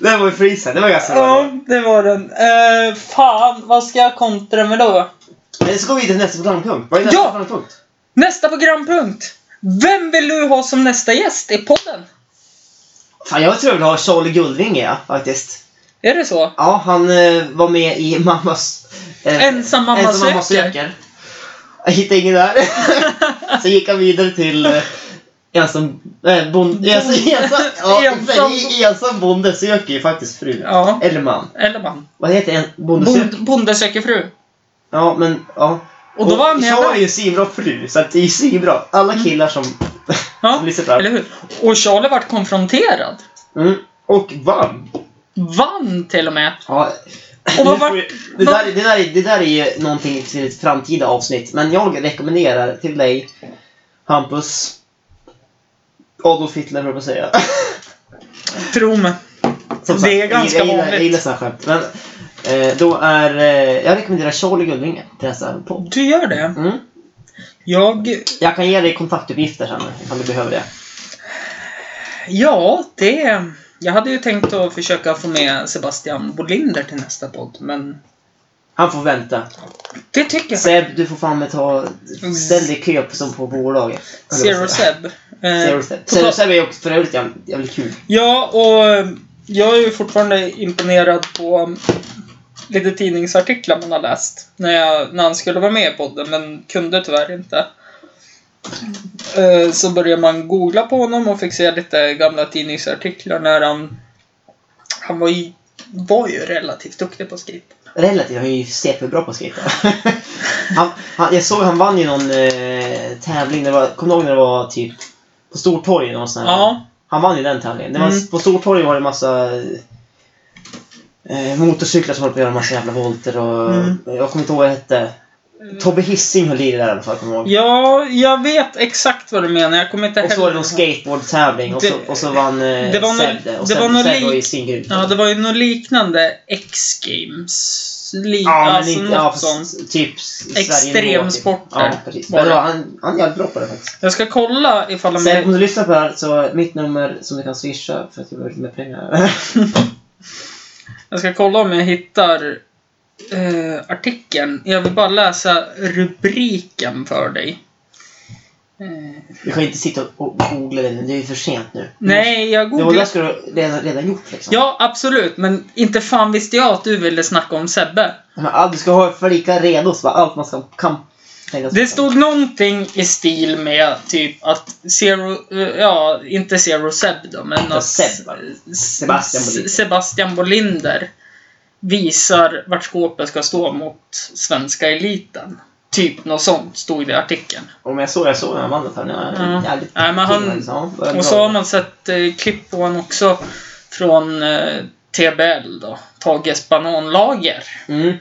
det var ju frisen, det var ganska Ja, bra. det var den. Eh, fan, vad ska jag kontra med då? Men så går vi vidare till nästa programpunkt. Vad är nästa Ja! programpunkt? Nästa programpunkt. Vem vill du ha som nästa gäst i podden? Fan, jag tror jag vill ha Charlie Guldvinge, ja, faktiskt. Är det så? Ja, han eh, var med i Mammas... Eh, Ensam mamma Ensam mamma söker. söker. Jag hittade ingen där. så gick han vidare till eh, ensam, eh, bond, ensam, ensam, ja, Ensam- i- ensam bonde söker ju faktiskt fru. Ja. Eller man. Eller man. Vad heter en bonde söker? Bond, bonde söker fru. Ja, men ja. Och då var han med Jag är där. Mm. ju svinbra fru, så att det är ju svinbra. Alla killar som, Ja, som lyssnar på eller hur? Och Charlie vart konfronterad. mm. Och vann. Vann till och med. Ja. Och vad Nu får vart- vi- det, vad- där, det, där, är- det där är ju någonting till ett framtida avsnitt, men jag rekommenderar till dig, Hampus, Adolf Hitler höll jag på att säga. Tro mig. Som Det sagt, är ganska jag gillar, Jag vanligt. gillar sådana skämt. Men, eh, då är, eh, jag rekommenderar Charlie Guldvinge till nästa podd. Du gör det. Mm. Jag... Jag kan ge dig kontaktuppgifter sen ifall du behöver det. Ja, det... Jag hade ju tänkt att försöka få med Sebastian Bolinder till nästa podd, men Han får vänta. det tycker jag. Seb, du får fan med ta... Mm. Ställ dig i kö på- som på bolaget. Zero Seb. Eh, Zero Seb. på Zero tal- Seb är ju också för övrigt jävligt, jävligt kul. Ja, och eh, jag är ju fortfarande imponerad på um, lite tidningsartiklar man har läst. När, jag, när han skulle vara med i podden, men kunde tyvärr inte. Eh, Så började man googla på honom och fick se lite gamla tidningsartiklar när han... Han var ju, var ju relativt duktig på skrift. Relativt, han är ju CP-bra på att skriva. han, han, jag såg han vann ju någon eh, tävling, det var, kommer du ihåg när det var typ på Stortorget? Någon sån här, Ja. Han vann ju den tävlingen. Det var, Mm. På Stortorget var det en massa eh, motorcyklar som höll på att göra en massa jävla volter och Mm. jag kommer inte ihåg vad det hette. Tobbe Hissing höll i det där i alla fall, kommer jag ihåg. Ja, jag vet exakt vad du menar. Jag kommer inte Och så var det någon skateboardtävling och, så, Det- och så vann eh, det var nog- Sebbe. Och det var Sebbe nog Sebbe var ju lik- singel. Ja, det var ju något liknande X-games. Li- Ja, men alltså inte, något ja, sånt. fast typ s- Extremsporter. Sverigenivå, typ. Ja, precis. Var Men det. det var, han, han är jävligt bra på det faktiskt. Jag ska kolla ifall de... Sen om du lyssnar på det här, så mitt nummer som du kan swisha för att jag behöver lite mer pengar. Jag ska kolla om jag hittar eh, artikeln. Jag vill bara läsa rubriken för dig. Eh, Du kan ju inte sitta och googla det nu, det är ju för sent nu. nej, jag Det var det googlar. skulle du redan, redan gjort liksom. Ja, absolut. Men inte fan visste jag att du ville snacka om Sebbe. Men, all- du ska ha för lika redo så bara allt man ska, kan tänka sig. Det stod någonting i stil med typ att Zero, eh, ja, inte Zero Seb då, men Ja, att Seb, va? S- Sebastian Bolinder. S- Sebastian Bolinder visar vart skåpet ska stå mot svenska eliten. Typ något sånt stod det i artikeln. Om jag såg, jag såg när han vann den tävlingen. Ja. Han är jävligt Nej, men kul, han- liksom. Ja, vad Och bra. så har man sett eh, klipp på honom också från eh, TBL då, Tages bananlager. Mm.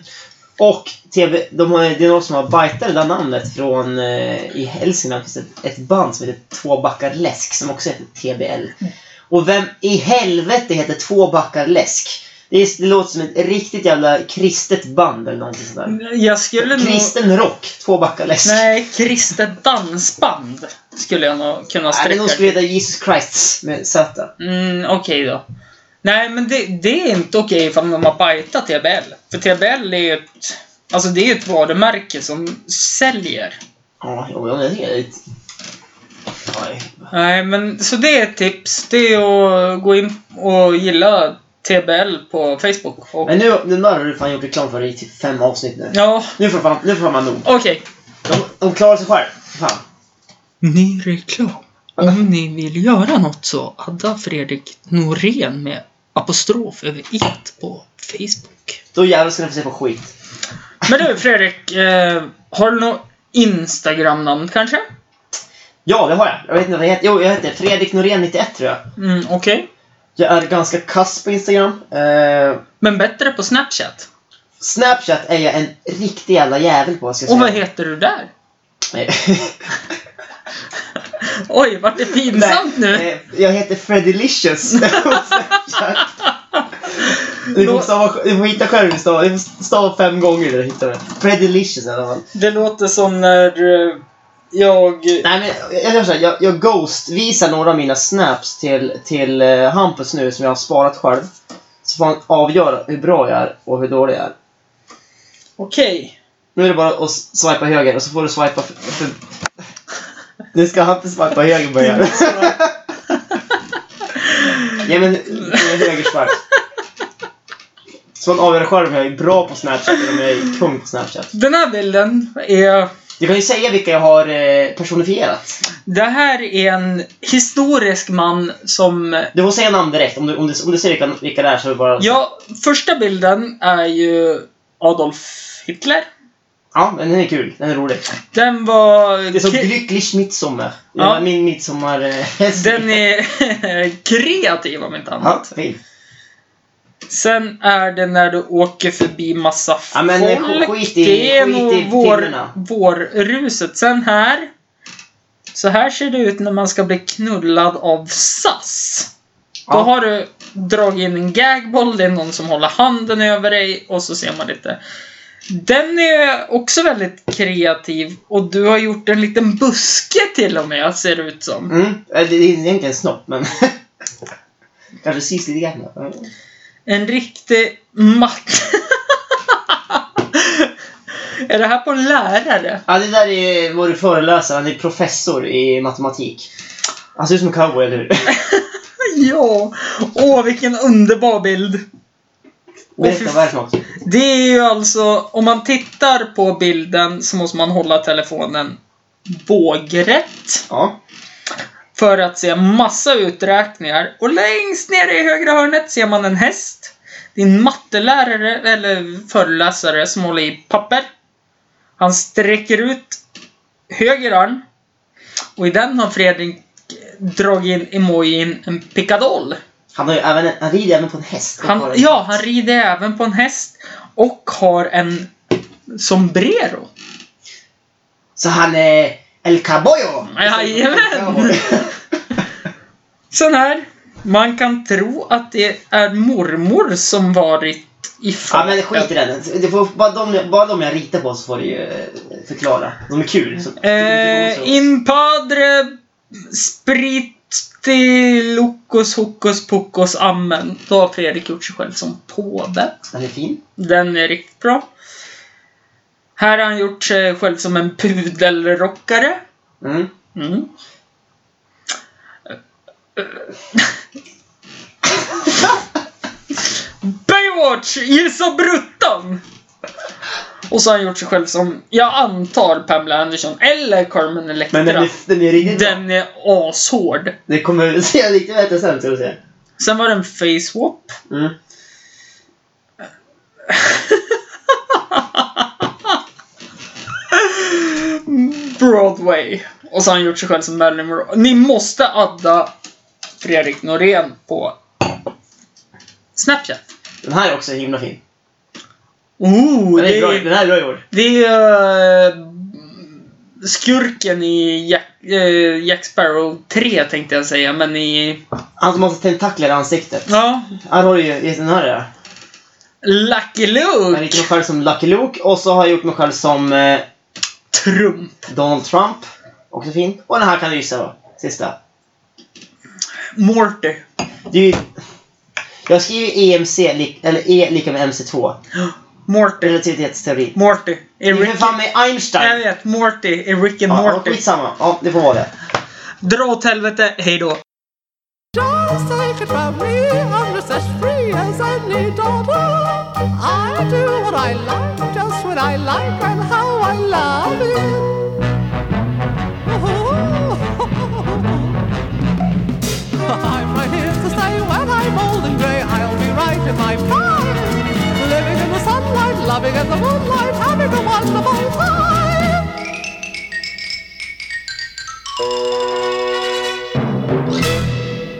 Och TV, de har, det är någon som har bajtat det där namnet från eh, i Hälsingland finns det ett band som heter Två backar läsk som också heter TBL. Och vem i helvete heter Två backar läsk? Det, är, det låter som ett riktigt jävla kristet band eller någonting sådär. Jag skulle nog... Kristen rock, Två backar läsk. Mm. Nej, kristet dansband skulle jag nog kunna Nej, men sträcka de skulle heta Jesus Christ med Z. Mm, okej då. Nej, men det, det är inte okej ifall de har bajtat TBL. För TBL är ju ett, alltså det är ju ett varumärke som säljer. Ja, jo, jag vet inte. Nej. Nej, men så det är ett tips. Det är att gå in och gilla TBL på Facebook. Och, Men nu, den där har du fan gjort reklam för i typ fem avsnitt nu. ja, Nu får fan, nu får man nog. okej. De, de klarar sig själv. Fan. Ny reklam. Om ni vill göra något så adda Fredrik Norén med apostrof över it på Facebook. Då jävlar ska ni få se på skit. Men du Fredrik, eh, har du något Instagram-namn kanske? Ja, det har jag. Jag vet inte vad jag heter. Jo, jag heter Fredrik Norén 91 tror jag. Mm, okej. Jag är ganska kass på Instagram. Eh, Men bättre på Snapchat. Snapchat är jag en riktig jävla jävel på, ska jag Och vad säga. heter du där? Nej. Oj, vart det pinsamt nu? eh, Jag heter Freddelicious på Snapchat. Du får, Lå- stava, du får hitta själv hur du stavar. Du får stava fem gånger när du hittar det. Freddelicious i alla fall. Det låter som när eh, jag... Nej men jag gör såhär, jag, jag ghost-visar några av mina snaps till, till eh, Hampus nu som jag har sparat själv. Så får han avgöra hur bra jag är och hur dålig jag är. Okej. Nu är det bara att s- swipa höger och så får du swipa... För, för... Nu ska Hampus swipa höger börjar. Ja men högersvart. Som man avgör själv om jag är bra på Snapchat eller om jag är kung på Snapchat. Den här bilden är... Du kan ju säga vilka jag har eh, personifierat. Det här är en historisk man som... Du får säga namn direkt. Om du, om du, om du säger vilka, vilka det är så är det bara... Ja, första bilden är ju Adolf Hitler. Ja, men den är kul. Den är rolig. Den var... Det är som kre- Glücklich Midsommar. Ja. Ja. Min midsommar... eh, Den är kreativ om inte Ja, annat. fin. Sen är det när du åker förbi massa folk. Ja, men sk- skit i- det är skit i nog vår, filmerna. vårruset. Sen här. Så här ser det ut när man ska bli knullad av SAS. Då Ja. har du dragit in en gagboll, det är någon som håller handen över dig och så ser man lite. Den är också väldigt kreativ och du har gjort en liten buske till och med ser det ut som. Mm. Eh, Det det är egentligen en snopp, men... Kanske syns lite grann. Ja. En riktig matt... är det här på en lärare? Ja, det där är vår föreläsare. Han är professor i matematik. Han ser ut som en cowboy, eller hur? Ja! Åh, vilken underbar bild! Berätta, vad är det för något? Det är ju alltså, om man tittar på bilden så måste man hålla telefonen bågrätt Ja. för att se massa uträkningar. Och längst ner i högra hörnet ser man en häst. Det är en mattelärare, eller föreläsare, som håller i papper. Han sträcker ut höger arm. Och i den har Fredrik dragit in emojin en pickadoll. Han, har ju även, han rider även på en häst. och Han, har en- ja, han rider även på en häst och har en sombrero. Så han är El Caboyo! Jajamän! Sån här. Man kan tro att det är mormor som varit i Ja farten. men skit i den. Det får, bara, de, bara de jag ritar på så får du ju eh, förklara. De är kul. Så, Eh, in padre spriti locus hokus pokus amen. Då har Fredrik gjort sig själv som påve. Den är fin. Den är riktigt bra. Här har han gjort sig själv som en pudelrockare. Mm. Mm. Baywatch! Gissa bruttan! Och så har han gjort sig själv som, jag antar, Pamela Anderson eller Carmen Electra. Men den är, den är riktigt bra. Den är ashård. Det kommer vi se lite bättre sen ska du se. Sen var det en face-wop. Mm. Broadway. Och så har han gjort sig själv som Marilyn Monroe. Ni måste adda Fredrik Norén på Snapchat. Den här är också himla fin. Oh, Den, det är bra, är, den här är bra gjord. det är eh, skurken i Jack, eh, Jack Sparrow 3 tänkte jag säga, men i... Han som har så tentakler i ansiktet. Ja. Här har du ju i den här. ja. Lucky Jag har gjort mig Luke! själv som Lucky Luke och så har jag gjort mig själv som eh, Trump. Donald Trump. Också fin. Och den här kan du gissa då. Sista. Morty. Det är ju... Jag skriver EMC, li- eller E lika med MC2. Morty. Relativitetsteori. Morty. Det Är är ju för Rick, fan med jag Einstein! vet, Morty. Är Rick and Ja, ja, Morty. skitsamma. Ja, det får vara det. Dra åt helvete, hejdå. Just take it from me, I'm just as free as any daughter. I do what I like, just what I like, and how I love it. I'm right here to stay when I'm old and grey. I'll be right in my prime, living in the sunlight, loving in the moonlight, having a wonderful time.